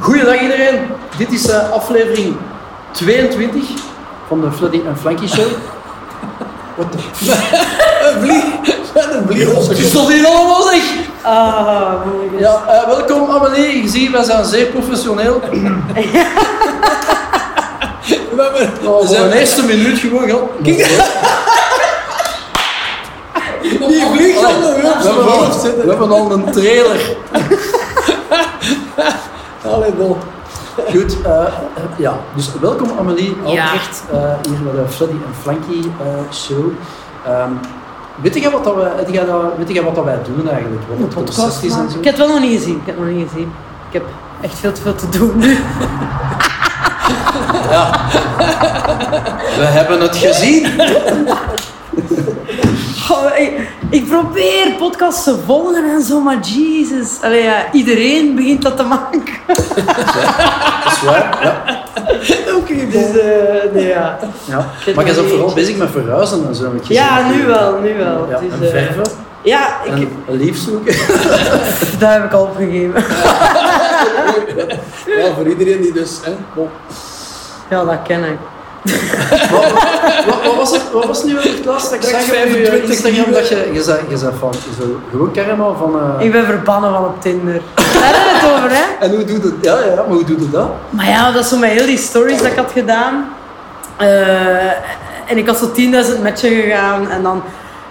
Goedendag iedereen. Dit is eh, aflevering 22 van de Fludding en Flanky Show. What the Een vlieg. Een vlieg op Het is zijn tot hier allemaal zeg! Ah, Oh, ja, eh, welkom Amelie, ik zie, wij zijn zeer professioneel. kop. We hebben- We zijn we zijn de eerste minuut gewoon gehad. Kijk. Die vlieg Allee, op de Oh, we, hebben hulp zijn hoofd al, we zitten. hebben al een trailer. Allee, bol. Goed, eh, eh, ja. Dus welkom Amelie, Ja. Albrecht, eh, hier bij de Freddy en Frankie eh, show. Ehm, weet jij wat, dat we, weet jij dat, weet jij wat dat wij doen eigenlijk? Wat het concept is en zo? Ik heb het wel nog niet gezien. Ik heb het nog niet gezien. Ik heb echt veel te veel te doen nu. We hebben het gezien. Oh, ik, ik probeer podcasts te volgen en zo, maar jezus. Allee, ja, iedereen begint dat te maken. Dat is waar, ja. Oké, Dus, bol. eh, nee, ja. ja. heb Maar jij nog bent niet vooral gezien. bezig met verhuizen en zo. heb ik gezien. ja, nu wel, nu wel. Ja, Dus, en eh, verven. ja, ik, En lief zoeken. pff, dat heb ik al opgegeven. Ja, voor iedereen die dus... Hè, bol. Ja, dat ken ik. wat, wat, wat was het, wat was het nu weer het laatste? Ik Direct zag op je 25 Instagram nieuwe- dat je, je zei, je zei van, je zei gewoon karma van... eh, Ik ben verbannen van op Tinder. Daar hebben we het over, hè? En hoe doet het? Ja, ja, maar hoe doet het dat? Maar ja, dat is zo met heel die stories dat ik had gedaan. Eh, en ik had zo 10.000 matchen gegaan en dan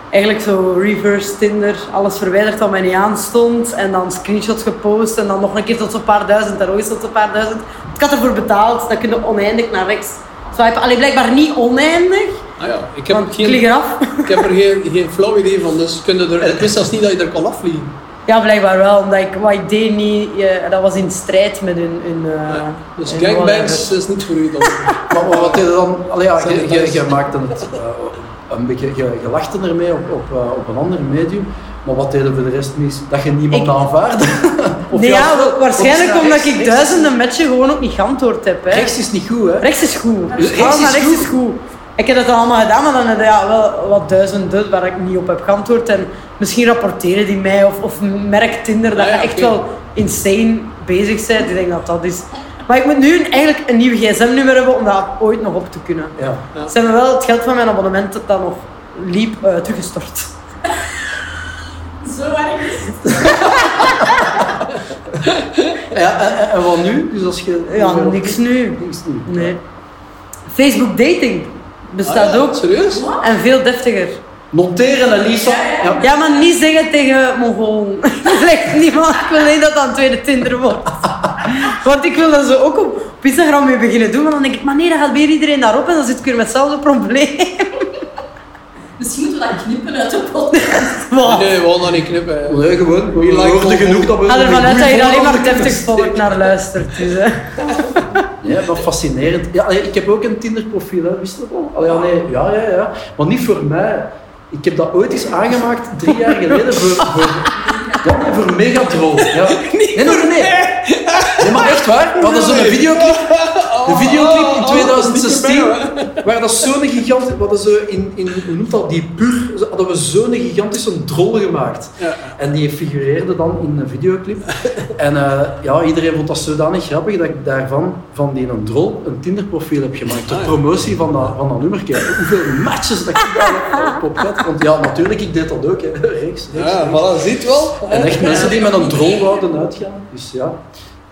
eigenlijk zo reverse Tinder, alles verwijderd wat mij niet aanstond. En dan screenshots gepost en dan nog een keer tot zo'n paar duizend en ook eens tot zo'n paar duizend. Ik had ervoor betaald, dat kun je oneindig naar rechts swipen. Alleen blijkbaar niet oneindig, Ah ja, ik heb, want geen, ik lig eraf. ik heb er geen, geen flauw idee van, dus kun je er, ik wist zelfs niet dat je er kon afvliegen. Ja, blijkbaar wel, omdat ik wat ik deed niet, eh, dat was in strijd met hun... hun eh, Dus hun gangbangs whatever. is niet voor u dan. Maar, maar wat deed je dan? Allee, ja, je, je, je Sanitizer. maakte het eh, een beetje, je, je lachte ermee op, op, eh, op een ander medium. Maar wat deden voor de rest mis? Dat je niemand Ik- aanvaarde? Of Nee, ja, ja, wa- waarschijnlijk of- omdat rechts- ik rechts- duizenden matchen gewoon ook niet geantwoord heb. Hè. Rechts is niet goed, hè? Rechts is goed. Dus Dus rechts is rechts goed. is goed. Ik heb dat dan allemaal gedaan, maar dan heb ik ja, wel wat duizenden waar ik niet op heb geantwoord. En misschien rapporteren die mij of, of merkt Tinder dat Ah, ja, je echt oké. wel insane bezig bent. Ik denk dat dat is. Maar ik moet nu een- eigenlijk een nieuw gsm-nummer hebben om dat ooit nog op te kunnen. Ja. Ja. Ze hebben wel het geld van mijn abonnement dat dan nog liep eh, teruggestort. Ja, en, en- en wat nu? Dus als je, Ja, niks nu. Niks nu. Nee. Facebook dating bestaat Ah ja, ook. Serieus? En veel deftiger. Noteren, Elisa. Ja. Ja, maar niet zeggen tegen Mongolen. Lijkt niemand. Ik wil niet dat dat een tweede Tinder wordt. Want ik wil dat zo ook op, op Instagram mee beginnen doen. Maar dan denk ik, maar nee, dan gaat weer iedereen daarop. En dan zit ik weer met hetzelfde probleem. Misschien moeten we dat knippen uit de podcast. Wow. Nee, we gaan dat niet knippen. hè. Nee, gewoon. Wie We lijkt hoorden het genoeg dat we... Ga ervan uit dat je er alleen maar deftig deftig volk naar luistert. Dus, hè. Ja, maar fascinerend. Ja, allee, ik heb ook een Tinder-profiel, hè. wist je dat al? Allee, ja, nee, ja, ja, ja. Maar niet voor mij. Ik heb dat ooit eens aangemaakt, drie jaar geleden, voor, voor, ja, nee, voor Megatrol. Ja. Nee, nee, nee, nee. Nee, maar echt waar. We hadden zo'n videoclip, Oh, de videoclip in 2016, waar dat zo'n gigantisch... We hadden zo in, in, hoe noemt dat, die pur, hadden we zo'n gigantische drol gemaakt. Ja. En die figureerde dan in een videoclip. En eh, ja, iedereen vond dat zodanig grappig dat ik daarvan, van die een drol, een Tinder-profiel heb gemaakt. Ter Ah, ja. promotie van dat, van dat nummerke. Hoeveel matches dat ik daar op had. Want ja, natuurlijk, ik deed dat ook. Hè. Reeks, reeks, Ja, reeks. voilà, ziet wel. En echt mensen die met een drol wouden uitgaan. Dus ja.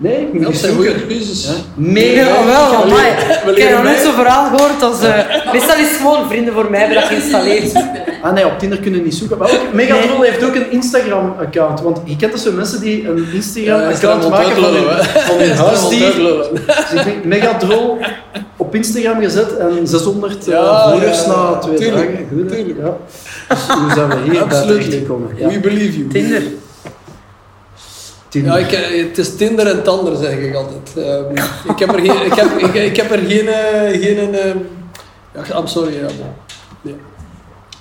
Nee, ik moet Dat niet zijn zoeken. goede keuzes. Ja. Nee, Mega. ja, wel, amai. leren Ik heb nog bij. nooit zo'n verhaal gehoord als... eh, meestal is het gewoon vrienden voor mij hebben dat geïnstalleerd. Ah nee, op Tinder kunnen we niet zoeken. Maar ook, Megatrol heeft ook een Instagram-account. Want je kent dus zo mensen die een Instagram-account maken van hun, van hun huisdier. Dus ik denk, Megadrol op Instagram gezet en 600 eh, Ja, volgers ja, na ja. twee Tuurlijk, dagen. Goed, hè? tuurlijk. Ja. Dus hoe zijn we hier bij Absoluut. terechtgekomen? Ja. We believe you. Tinder. Tinder. Ja, ik, eh, het is Tinder en Tander, zeg ik altijd. Ehm, ik, heb er geen, ik, heb, ik, ik heb er geen... eh, geen ehm, ja, I'm sorry. Ja, maar- nee.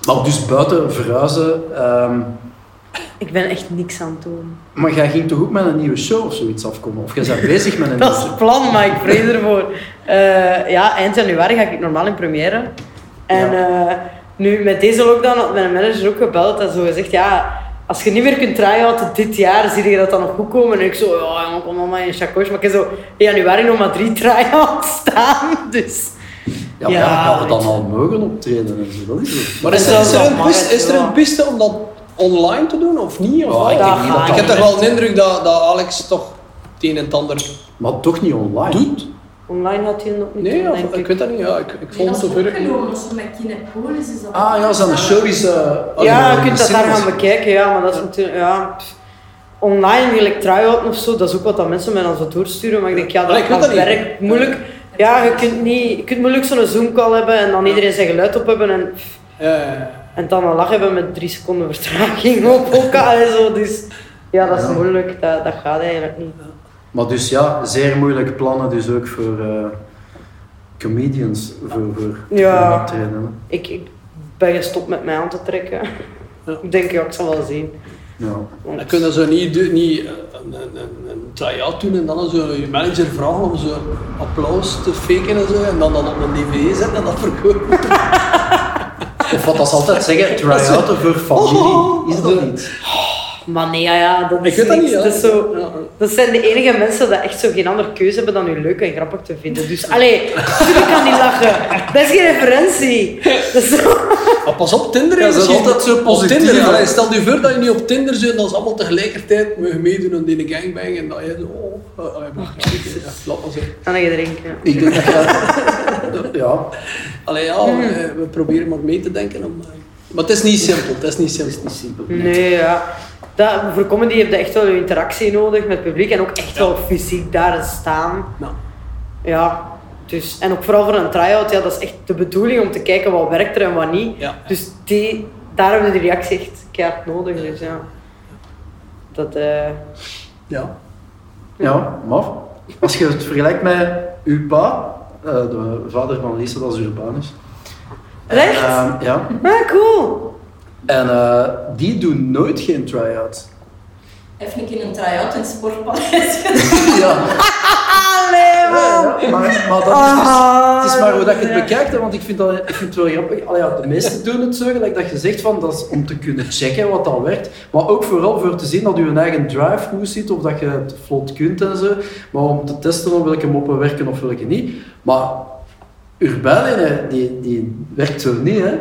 Maar dus buiten verhuizen. ehm, Ik ben echt niks aan het doen. maar jij ging toch ook met een nieuwe show of zoiets afkomen? Of jij bent bezig met een nieuwe Dat is het plan, maar ik vrees ervoor. Eh, ja, eind januari ga ik normaal in première. En eh, nu met deze lockdown had mijn manager ook gebeld en zo gezegd, ja, als je niet meer kunt tryouten dit jaar, zie je dat dan nog goed komen. En ik zo, ja, jongen, kom allemaal in chacos. Maar ik heb zo in januari nog maar drie tryouts staan. Dus Ja, maar Ja, ja, gaan we dan weet al mogen optreden en zo, dat is het. Maar is En er, dat is is, er een wel piste, markt, is er een ja. piste om dat online te doen of niet? Of Ja, wat? ik denk ik, niet dat dat heb toch kan. wel de indruk dat, dat Alex toch het een en het ander Maar toch niet online. doet. online had hij nog niet. Nee, doen, of- denk ik weet dat niet. Ja, ik, ik Nee, volg het dat is zover ik opgenomen, of zo met Kinepolis is dat. Ah ja, zijn de show is... eh, Ja, allemaal je in kunt de dat daar cinemas. gaan bekijken, ja, maar dat is natuurlijk. Ja, pff. online wil ik try-outen of zo, dat is ook wat dat mensen mij dan zo doorsturen. Maar ik denk, ja, dat Allee, ik weet gaat dat niet. werk moeilijk. Ja, je kunt, niet, je kunt moeilijk zo'n Zoom-call hebben en dan iedereen zijn geluid op hebben en, pff, Ja, en dan een lach hebben met drie seconden vertraging op elkaar en zo. Dus ja, dat is Ja. moeilijk, dat, dat gaat eigenlijk niet. Maar dus ja, zeer moeilijke plannen dus ook voor eh, comedians, voor, voor Ja. voor optreden, hè. Ik, ik ben gestopt met mij aan te trekken. Ja. Ik denk, ja, ik zal wel zien. Ja. dan kun je zo niet, do- niet eh, een, een, een, een try-out doen en dan zo je manager vragen om zo applaus te faken en zo en dan dat op een dvd zetten en dat verkopen. Of wat dat ze altijd zeggen, try-outen voor Oh, familie, is dat de- niet? Maar nee, ja, ja, dat is Ik weet dat niet. niks. ja. Dat is zo... Ja. Dat zijn de enige mensen die echt zo geen andere keuze hebben dan u leuk en grappig te vinden. Dus allee, natuurlijk kan niet lachen. Dat is geen referentie. Dat is zo... Maar pas op, Tinder Ja, is ze is misschien- altijd zo positief, Op Tinder, hè. allee, stel je voor dat je niet op Tinder zit en dat ze allemaal tegelijkertijd mogen meedoen aan die gangbang en dat je zo... Oh, eh, allee, maar, ja, laat maar zeggen. Dan ga je drinken. Ik denk dat dat... Ja, Allee, ja, eh, we proberen maar mee te denken. Om, eh, maar het is niet simpel, het is niet simpel. is niet simpel. Nee, ja. Dat, voor comedy heb je echt wel je interactie nodig met het publiek en ook echt wel fysiek daar staan. Nou, Ja, dus... En ook vooral voor een try-out, ja, dat is echt de bedoeling om te kijken wat werkt er en wat niet. Ja. Dus die, daar hebben we die reactie echt keihard nodig. Dus ja. Dat... eh, ja. Ja, maar als je het vergelijkt met uw pa, eh, de vader van Lisa, dat is Urbanus. En, Echt? eh, ja. Ah, cool. En eh, die doen nooit geen try-out. Even een keer een try-out in het sportpaleis gedaan. Ja. Allee, man. Ja, maar, maar dat is dus, Ah. het is maar hoe dat je het bekijkt, hè, want ik vind, dat, ik vind het wel grappig. Allee, ja, de meesten doen het zo, gelijk dat je zegt, van, dat is om te kunnen checken wat dat werkt. Maar ook vooral voor te zien dat je een eigen drive goed zit, of dat je het vlot kunt en zo. Maar om te testen of welke moppen werken of welke niet. Maar Urbain, hè, die, die werkt zo niet. Hè.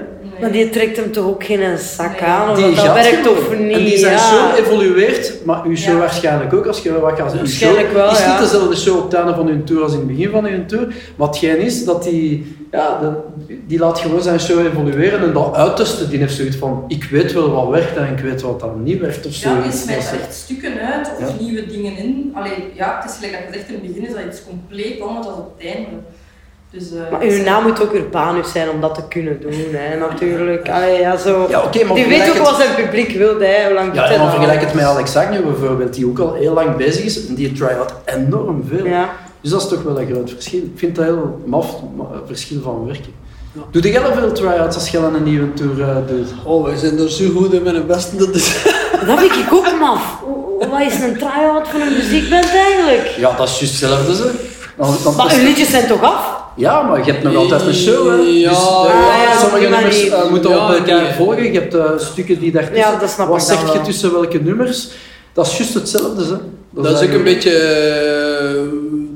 Maar die trekt hem toch ook geen zak Nee. aan, of Die dat, dat gaat werkt gewoon. of niet. En die zijn ja. show evolueert, maar uw show Ja. waarschijnlijk ook. Als je wat gaat zeggen, uw Waarschijnlijk show wel, is ja. niet dezelfde show op het einde van hun tour als in het begin van hun tour. Wat geen is, dat die, ja, de- die laat gewoon zijn show evolueren en dat uittesten. Die heeft zoiets van, ik weet wel wat werkt en ik weet wat dan niet werkt of zo. Ja, je smijt Dat er is- echt stukken uit of Ja. nieuwe dingen in. Allee, ja, het is gelijk dat je zegt, in het begin is dat iets compleet anders dan op het einde. Dus, eh, Maar uw naam moet ook urbanus zijn om dat te kunnen doen, hè, natuurlijk. Allee, ja, zo. Ja, oké, maar die weet vergelijk ook het- wat zijn publiek wil, hè. Hoe lang doet Ja, hij en dan dat vergelijk al? het met Alex Agnew bijvoorbeeld, die ook al heel lang bezig is en die try-out enorm veel. Ja. Dus dat is toch wel een groot verschil. Ik vind dat heel maf, ma- eh, verschil van werken. Ja. Doe jij al veel try-outs als je dan een nieuwe tour eh, doet? Oh, wij zijn er zo goed in mijn beste. Dat is... Dat vind ik ook maf. O- o- Wat is een try-out van een muziekband eigenlijk? Ja, dat is juist hetzelfde. Ze. Dan, dan Maar past- uw liedjes zijn toch af? Ja, maar je hebt nog altijd een show. Hè. Ja. dus, eh, Ah, ja, op sommige die nummers manier. eh, moeten Ja, op elkaar die- volgen. Je hebt eh, stukken die daar Ja, dat snap Wat ik dan zeg je wel. tussen welke nummers? Dat is juist hetzelfde. Hè. Dat is ook een eigenlijk- beetje... eh,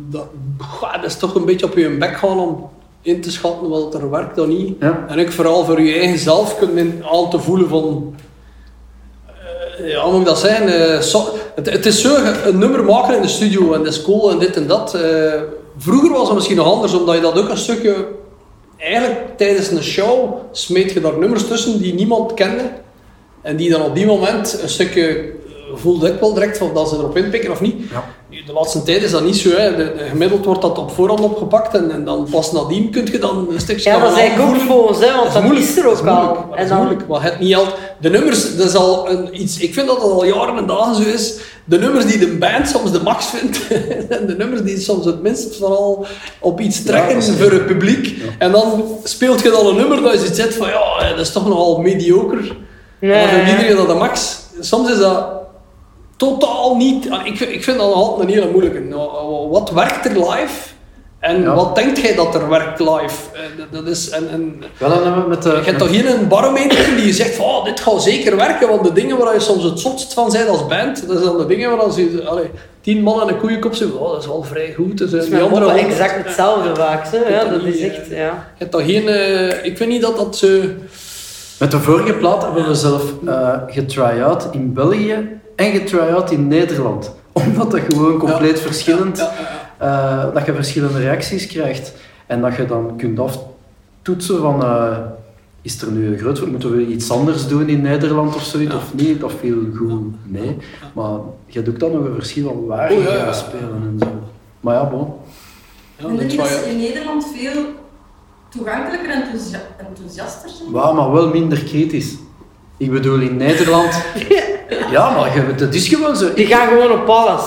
Dat, Goh, dat is toch een beetje op je bek gaan om in te schatten wat er werkt dan niet. Ja. En ook vooral voor je eigen zelf kunt men aan te voelen van... eh, ja, hoe moet ik dat zijn? het, het is zo, een nummer maken in de studio en dat is cool en dit en dat. Eh, vroeger was het misschien nog anders, omdat je dat ook een stukje... Eigenlijk tijdens een show smeet je daar nummers tussen die niemand kende. En die dan op die moment een stukje eh, voelde ik wel direct van dat ze erop inpikken of niet. Ja. Nu, De laatste tijd is dat niet zo. Hè. De- de- gemiddeld wordt dat op voorhand opgepakt en, en dan pas nadien kun je dan een stukje Ja, dat is gaan eigenlijk ook aanvoelen. volgens, hè, want dat is, moeilijk, er ook dat is moeilijk, al. maar Dat is dan- moeilijk, maar het niet al. De nummers, dat is al een, iets. Ik vind dat dat al jaren en dagen zo is. De nummers die de band soms de max vindt, en de nummers die soms het minst vooral op iets trekken dat is- voor het publiek. En dan speelt je dan een nummer dat je zit van ja, eh, dat is toch nogal mediocre. Nee. Maar voor iedereen dat de max. Soms is dat ah, totaal niet. Ik, ik vind dat altijd een hele moeilijke. Nou, Wat werkt eh, er live? En Ja. wat denkt jij dat er werkt live? Eh, dat- dat is, en, en, Wel, dan hebben we met eh, de... Eh, je hebt toch hier een barometer die je zegt van oh, dit gaat zeker werken, want de dingen waar je soms het zotst van bent als band, dat zijn dan de dingen waar als je allee, tien man en een koeienkop zegt, oh, dat is wel vrij goed. Dus, eh, Dat is die met andere moppen honderd- exact hetzelfde vaak. Zo. Ja, kan dat niet, is eh, echt, ja. Je hebt toch geen, eh, ik weet niet dat dat ze... Met de vorige plaat hebben we zelf eh getry-out in België en getry-out in Nederland. Omdat dat gewoon compleet verschillend... Ja, ja, ja. eh, dat je verschillende reacties krijgt. En dat je dan kunt aftoetsen van... eh, is er nu een groot... Moeten we iets anders doen in Nederland of zoiets? Ja. Of niet? Dat viel goed mee. Maar je doet dan nog een verschil van waar Oh, je ja, ja. gaat spelen en zo. Maar ja, bon. Ja, Vind je dat niet is waar, dat ja. ze in Nederland veel toegankelijker en enthousia- enthousiaster zijn? Wauw, maar wel minder kritisch. Ik bedoel, in Nederland... Ja, maar je- het is gewoon zo. Die gaan gewoon op alles.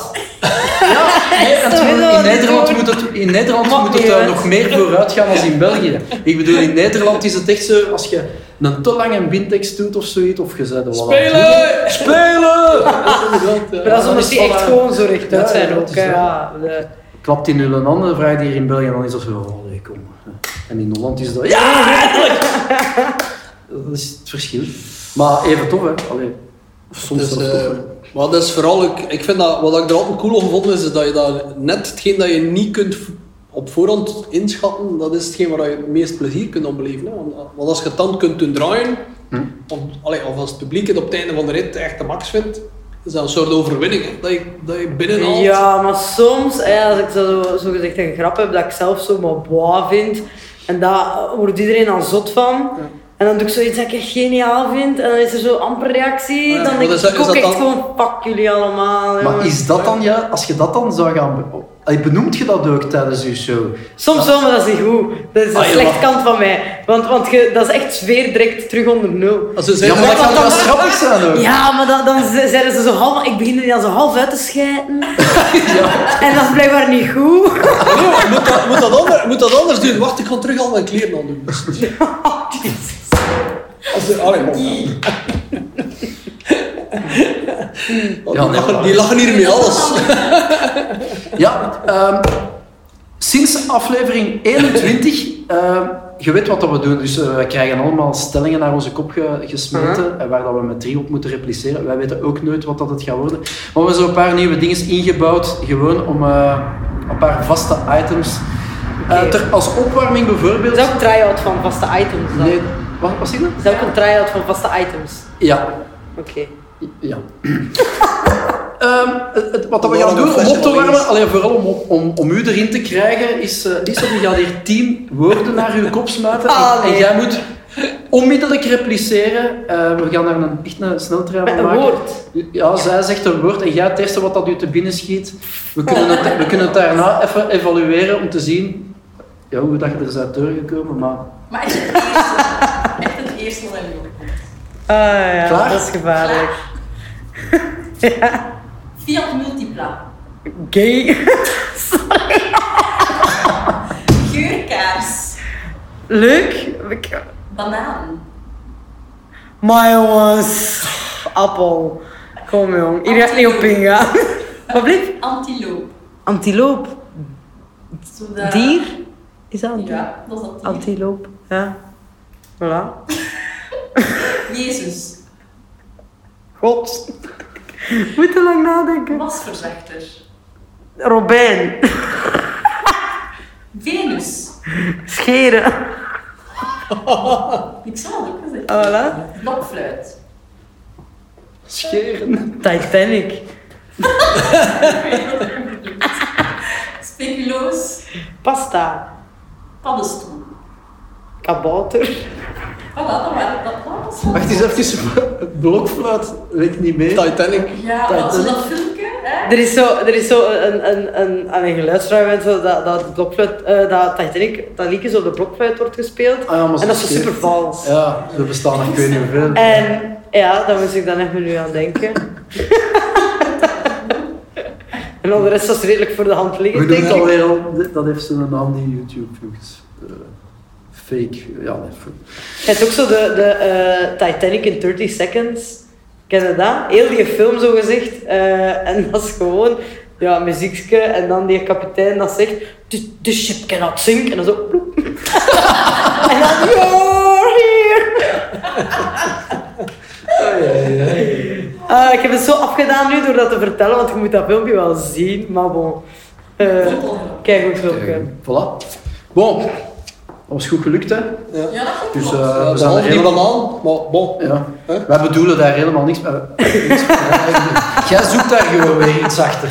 Ja, nee, en dat terwijl wel in Nederland gewoon- moet het, in Nederland Mag moet het niet, daar hè? nog meer vooruit gaan dan in België. Ik bedoel, in Nederland is het echt zo, als je een te lange bintekst doet of zoiets, of je zei de Spelen! Spelen! Ja, inderdaad, ja. Maar dat is omdat is die van, echt eh, gewoon zo rechtuit ja, ja, zijn dat ook. is hè. zo. Ja, de- Klapt in hun handen, vraagt hier in België, dan is dat zo, oh nee, kom. En in Holland is dat, ja, eindelijk! Dat is het verschil. Maar even tof, hè. Allee, soms Dus, wel eh, tof, hè. maar dat is vooral, ik, ik vind dat, wat ik er altijd cool aan gevonden is, is dat je dat net hetgeen dat je niet kunt v- op voorhand inschatten, dat is hetgeen waar je het meest plezier kunt opbeleven. Hè. Want, eh, want als je het dan kunt doen draaien, Hm? of, allee, of als het publiek het op het einde van de rit echt de max vindt, is dat een soort overwinning, hè, dat, je, dat je binnenhaalt. Ja, maar soms, hè, als ik zo, zo gezegd een grap heb dat ik zelf zo maar boah vind, en daar wordt iedereen dan zot van. En dan doe ik zoiets dat ik echt geniaal vind, en dan is er zo amper reactie. Ja, dan maar denk dat ik is- is ook dat echt dan- gewoon, fuck jullie allemaal. Maar jongen." is dat dan, ja, als je dat dan zou gaan... be- oh, Allee, Benoemt je dat ook tijdens je show? Soms wel, maar dat is niet goed. Dat is een Ah, ja, slecht maar- kant van mij. Want, want je, dat is echt sfeer direct terug onder nul. Als ze Ja, zeggen, maar dat dat- kan wel grappig zijn ook. Ja, maar dan, dan ze- zeiden ze zo half... Ik begin er dan zo half uit te schijten. En dat is blijkbaar niet goed. Nee, moet, dat, moet, dat ander- moet dat anders doen. Wacht, ik ga terug al mijn kleren aan doen. Dus- Als de, allee, man. Oh, die, Ja, lachen, maar- die lachen hier mee alles. Ja, ehm, sinds aflevering 21, ehm, je weet wat dat we doen. Dus eh, we krijgen allemaal stellingen naar onze kop ge- gesmeten, Mhm. en waar dat we met drie op moeten repliceren. Wij weten ook nooit wat dat het gaat worden. Maar we hebben zo een paar nieuwe dingen ingebouwd, gewoon om eh, een paar vaste items. Eh, Oké. ter, als opwarming bijvoorbeeld. Dat is ook een try-out van vaste items dan. Nee, wat was die dan? Dat is ook een try-out van vaste items. Ja. Oké. Ja. Ehm, het, wat dat we Waarom gaan doen een om op te flesje warmen, opeens? alleen vooral om, om, om u erin te krijgen, is eh Lisa die gaat hier tien woorden naar uw kop smaten. en- Ah, en, nee. jij moet onmiddellijk repliceren. Eh, we gaan daar een, echt een sneltrein Met van een maken. woord. Ja, zij zegt een woord en jij het eerste wat dat u te binnen schiet. We Oh. kunnen het, we kunnen het daarna even evalueren om te zien ja, hoe dat je er bent doorgekomen. Maar Maar echt het eerste. Echt het eerste wat in je komt. Ah ja, Klaar? dat is gevaarlijk. Klaar. Fiat Multipla. Gay. Geurkaars. Leuk. Ik- Banaan. Maar jongens. Appel. Kom jong. Hier gaat het niet op ingaan. Wat blijft? Antiloop. Antiloop. Zodat- Dier? Is dat een dier? Ja, dat is dat dier. Antiloop. Ja. Voilà. Jezus. God. Moet te lang nadenken. Wasverzachter. Robijn. Venus. Scheren. Ik zal het ook gezegd. Voilà. Blokfluit. scheren. Titanic. Speculoos. Pasta. Paddenstoel. Kabouter. Voilà, dat waren dat was het. Wacht eens even, blokfluit, weet niet mee. Titanic. Ja, Tijd, dat zo hè? dat filmpje, hè? Er is zo, er is zo een, een, een, aan een geluidsruim en zo dat, dat, de blokfluit, eh, dat Titanic, dat liedje zo op de blokfluit wordt gespeeld. Ah ja, maar en dat zo is super scheef. vals. Ja, we bestaan nog ik weet niet hoeveel. En ja, daar moest ik dan even nu aan denken. en al de rest was redelijk voor de hand We liggend, doen denk het ik. alweer al, dit- dat heeft zo'n naam die YouTube nog is. Eh, fake, ja, nee, fake. Je hebt ook zo de, de eh, Titanic in 30 Seconds. Ken je dat? Heel die film zo gezegd. Eh, en dat is gewoon ja, muziekje en dan die kapitein dat zegt "This- this ship cannot sink en dan zo ploep. en dan you're here. Ah, ik heb het zo afgedaan nu door dat te vertellen, want je moet dat filmpje wel zien, maar bon. Eh, kijk ook filmpje. eh, Voilà. Bon, dat was goed gelukt, hè? Ja, dat komt Dus, wel. eh, Dat is zijn half er die helemaal- banaan, maar bon. Ja. Hè? Wij bedoelen daar helemaal niks mee. niks mee. Jij zoekt daar gewoon weer iets achter.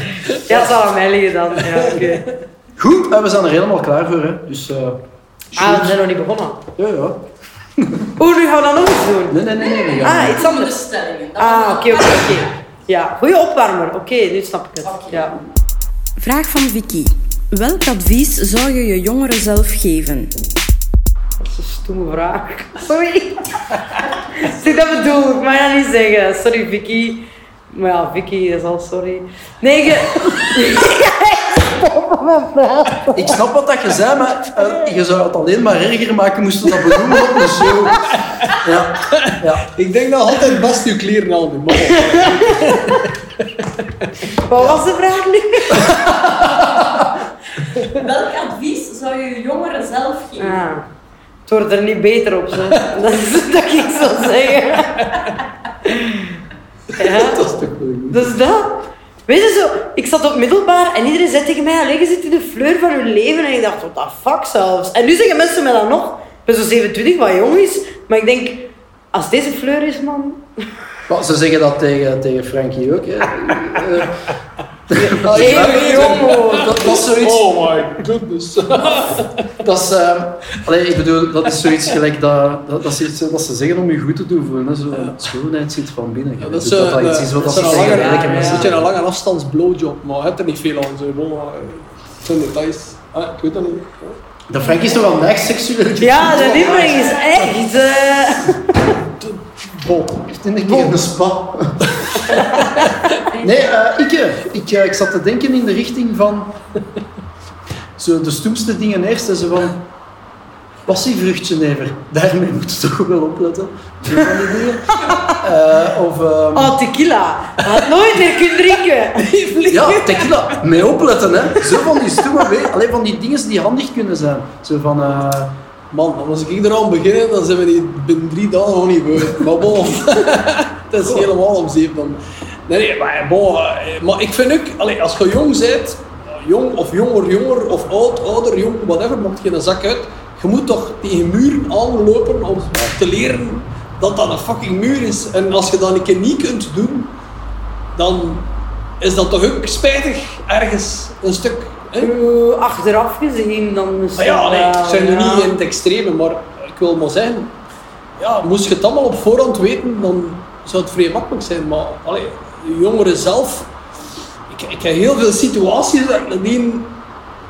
Ja, dat zal aan mij liggen dan. Ja, oké. Goed, en we zijn er helemaal klaar voor, hè? Dus, eh, Ah, we zijn nog niet begonnen. ja, ja. Oeh, nu gaan we dat nog eens doen. Nee, nee, nee, nee. nee, ja. Ah, iets anders. Onderstellingen. Dat Ah, was- oké, oké, oké. Ja, goede opwarmer. Oké, nu snap ik het. Oké. Ja. Vraag van Vicky. Welk advies zou je je jongeren zelf geven? Dat is een stomme vraag. Sorry. Zie, dat bedoel ik. Mag dat niet zeggen. Sorry, Vicky. Maar ja, Vicky is al sorry. Nee, je... Ik snap wat dat je zei, maar eh, je zou het alleen maar erger maken moesten dat benoemen op een show. Ja, ja. Ik denk dat altijd best uw kleren aan doen. Maar bon. Wat was de vraag nu? Welk advies zou je je jongeren zelf geven? Ah. Het wordt er niet beter op, zeg. Dat is het dat ik zou zeggen. Ja. dat is toch wel goed. Dus dat. Weet je zo, ik zat op middelbaar en iedereen zei tegen mij, alleen je zit in de fleur van je leven. En ik dacht, what the fuck zelfs. En nu zeggen mensen mij dat nog. Ik ben zo 27, wat jong is. Maar ik denk, als deze fleur is, man... Maar ze zeggen dat tegen, tegen Frankie ook. Hè. Eh, Even jong, hoor. dat, dat is zoiets. Oh my goodness. Dat is, ehm, allee, ik bedoel, dat is zoiets gelijk dat, dat, dat, is iets dat ze zeggen om je goed te doen voelen. hè. Zo, Schoonheid zit van binnen. Ja, Je dat is doet eh, dus dat iets is wat dat dat is een ze lange- zeggen. jaren, elke een mensen. beetje een lange afstands blowjob, maar je hebt er niet veel aan. Zo. Bon, eh, het zijn details. Ah, ik weet dat niet. Dat Frankie is toch wel neig seksueel. Ja, de lievering is echt... eh, Bon, heeft in een keer een spa. nee, eh Ikke, ik, eh, ik zat te denken in de richting van zo de stoemste dingen eerst. en Zo van, passievruchtjenever, daarmee moet je toch wel opletten. Zo van die dingen. Eh, of... ehm, Oh, tequila. Je had nooit meer kunnen drinken. Ja, tequila. Mee opletten, hè. Zo van die stomme we- Alleen van die dingen die handig kunnen zijn. Zo van... eh, Man, als ik hier aan begin, dan zijn we die binnen drie dagen gewoon niet gebeurd. Maar bon, dat is helemaal om zeep dan. Nee, nee, maar bon, eh, maar ik vind ook, allee, als je jong bent, jong of jonger, jonger of oud, ouder, jong, whatever, maakt geen zak uit. Je moet toch tegen muren aanlopen om te leren dat dat een fucking muur is. En als je dat een keer niet kunt doen, dan is dat toch ook spijtig ergens een stuk. Hè? Oeh, Achteraf gezien, dan is Maar Ah ja, dat nee, wel, ik zijn nu ja. niet in het extreme, maar ik wil maar zeggen, ja, moest je het allemaal op voorhand weten, dan zou het vrij makkelijk zijn. Maar allee, de jongeren zelf, ik, ik heb heel veel situaties dat ik die,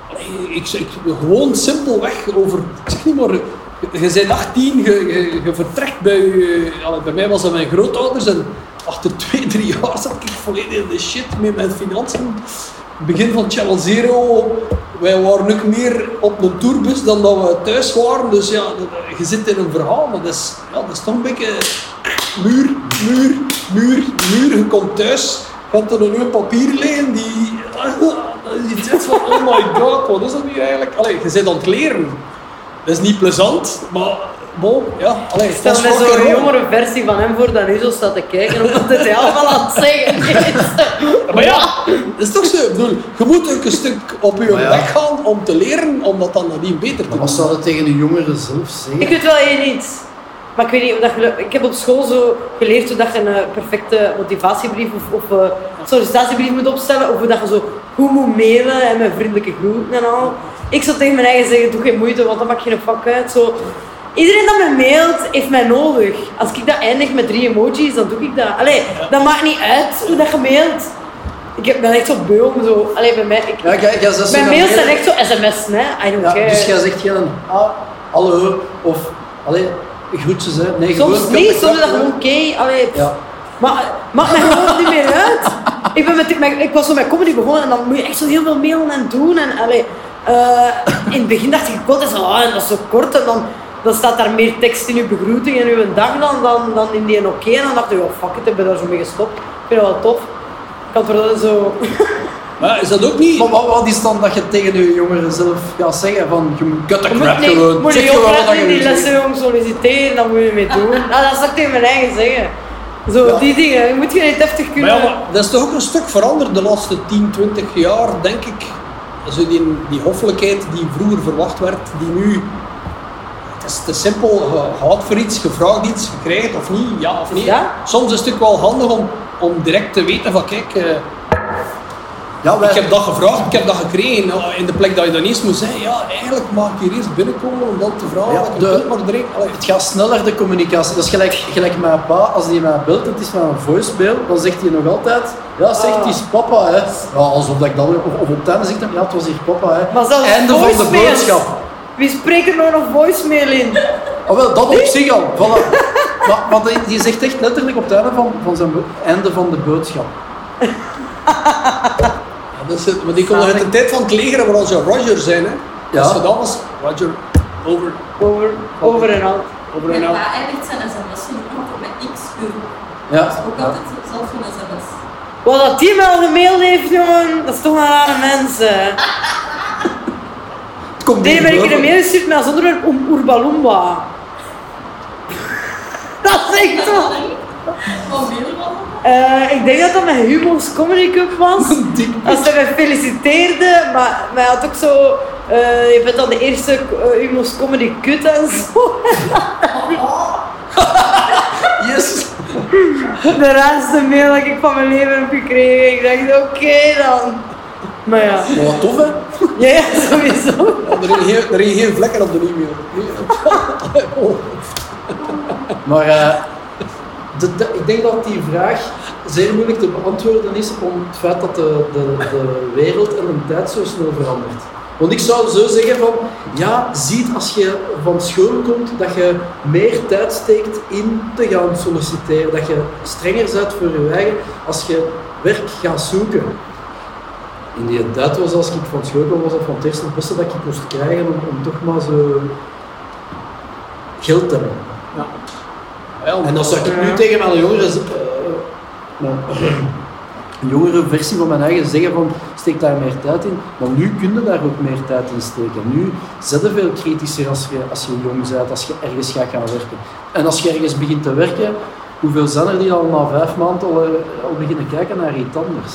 allee, ik, ik, gewoon simpelweg over, ik zeg niet maar, je- je bent 18, je, je, je vertrekt bij je, allee, bij mij was dat mijn grootouders en achter twee, drie jaar zat ik volledig in de shit met mijn financiën begin van Channel Zero, wij waren ook meer op een tourbus dan dat we thuis waren. Dus ja, je zit in een verhaal, maar dat is, ja, dat is toch een beetje muur, muur, muur, muur. Je komt thuis, gaat er een uur papier liggen die... Je zit van, oh my god, wat is dat nu eigenlijk? Allee, je zit aan het leren. Dat is niet plezant, maar bon, ja. Allee, Ik stel dat is mij rock and zo'n roll. jongere versie van hem voor dat nu zo staat te kijken of dat hij allemaal aan het zeggen is. Maar ja, dat is toch zo. Ik bedoel, je moet ook een stuk op je Maar ja. weg gaan om te leren, om dat dan nadien beter te maar doen. wat zou dat tegen de jongeren zelf zeggen? Ik weet wel één iets. Maar ik weet niet, of dat gelu- ik heb op school zo geleerd hoe dat je een eh, perfecte motivatiebrief of, of eh, sollicitatiebrief moet opstellen. Of hoe dat je zo goed moet mailen en met vriendelijke groeten en al. Ik zou tegen mijn eigen zeggen, doe geen moeite, want dat maakt geen fuck uit. Zo. Iedereen dat me mailt, heeft mij nodig. Als ik dat eindig met drie emojis, dan doe ik dat. Allee, dat maakt niet uit hoe dat je mailt. Ik heb- ben echt zo beu om zo... Allee, bij mij... Ik, Ja, jij- jij zegt zo mijn dan mails heel- zijn echt zo sms'en, hè. I don't Ja, care. dus jij zegt geen ah, hallo of allee, groetjes. Hè. Nee, Soms gewoon nee, contact- soms is dat gewoon oké. allee, pff. Ja. Maar eh, maakt mij gewoon niet meer uit. Ik, ben met, met- ik was zo met comedy begonnen en dan moet je echt zo heel veel mailen en doen. En, allee, eh, in het begin dacht ik, god, dat is, al- ah, dat is zo kort. En dan, dan staat daar meer tekst in je begroeting en uw dag dan, dan, dan in die een oké. En dan dacht ik, oh fuck it, ik ben daar zo mee gestopt. Ik vind dat wel tof. Ik had er wel zo... Maar is dat ook niet... Maar wat, wat is dan dat je tegen je jongeren zelf gaat zeggen van, je moet cut the Je crap moet niet, gewoon, moet zeg niet gewoon wat opletten je in die wil zeggen. lessen om solliciteren, dat moet je mee doen. Nou, dat zou ik tegen mijn eigen zeggen. Zo, Ah. Ja. die dingen, je moet je niet deftig Maar kunnen. ja, maar dat is toch ook een stuk veranderd de laatste 10, 20 jaar, denk ik. Zo die, die hoffelijkheid die vroeger verwacht werd, die nu... Het is te simpel, je gaat voor iets, je vraagt iets, je krijgt het of niet, ja of nee. Ja. Soms is het ook wel handig om, om direct te weten van kijk, eh, Ja, wij, ik heb dat gevraagd, ik heb dat gekregen. Nou, In de plek dat je dan eerst moet zeggen, ja eigenlijk mag ik hier eerst binnenkomen om dan te vragen. Ja, dat ik de- het maar direct... Allee, Het gaat sneller, de communicatie. Dat is gelijk, gelijk mijn pa, als hij mij belt, het is met een voicemail, dan zegt hij nog altijd, ja, Ah. zegt hij is papa, hè. Ja, alsof dat ik dan, of, of op tijd zegt hij, ja, het was hier papa, hè. Maar zelfs Einde van de voicemails. boodschap. Wie spreekt er nou nog voicemail in? Ah, wel, dat op zich al, voilà. Maar, maar die, die zegt echt letterlijk op het einde van, van zijn bo- einde van de boodschap. Ja, dat is het, maar die komt nog uit de tijd van het leger waar onze Roger zijn. Hè. Ja. Als je dat was, Roger, over, Over, over en al. over Mijn en out. pa eindigt zijn sms'en ook nog met x euro. Dat is Ja. ook altijd zelf een sms. Wat dat die wel gemaild heeft, jongen, dat is toch een rare mens. hè. Het komt Die niet ben ik een boven. mail gestuurd met als onderwerp om Oerbalumba. dat is echt toch... Van Weerwal. Eh, ik denk dat dat met Hugo's Comedy Cup was. Als hij mij feliciteerde, maar, maar hij had ook zo... eh, je bent dan de eerste eh, Humo's Comedy Kut en zo. Yes. De raarste mail dat ik van mijn leven heb gekregen. Ik dacht, oké dan. Maar ja. Maar wat tof, hè? Ja, ja, sowieso. Ja, Er gingen geen- er gingen geen vlekken op de e-mail. Nee, oh. Maar eh, de- de- ik denk dat die vraag zeer moeilijk te beantwoorden is om het feit dat de, de, de wereld en de tijd zo snel verandert. Want ik zou zo zeggen van, ja, ziet als je van school komt dat je meer tijd steekt in te gaan solliciteren, dat je strenger bent voor je eigen als je werk gaat zoeken. In die tijd was als ik van school kwam, was dat van het eerste en het beste dat ik moest krijgen om, om toch maar zo geld te hebben. Ja, En dat zou ik nu Ja. tegen mijn jongeren, z- eh, mijn- een jongere versie van mijn eigen zeggen van steek daar meer tijd in. Maar nu kun je daar ook meer tijd in steken. Nu zet je veel kritischer als je, als je jong bent, als je ergens gaat gaan werken. En als je ergens begint te werken, hoeveel zijn er die al na vijf maanden al, eh, al beginnen kijken naar iets anders?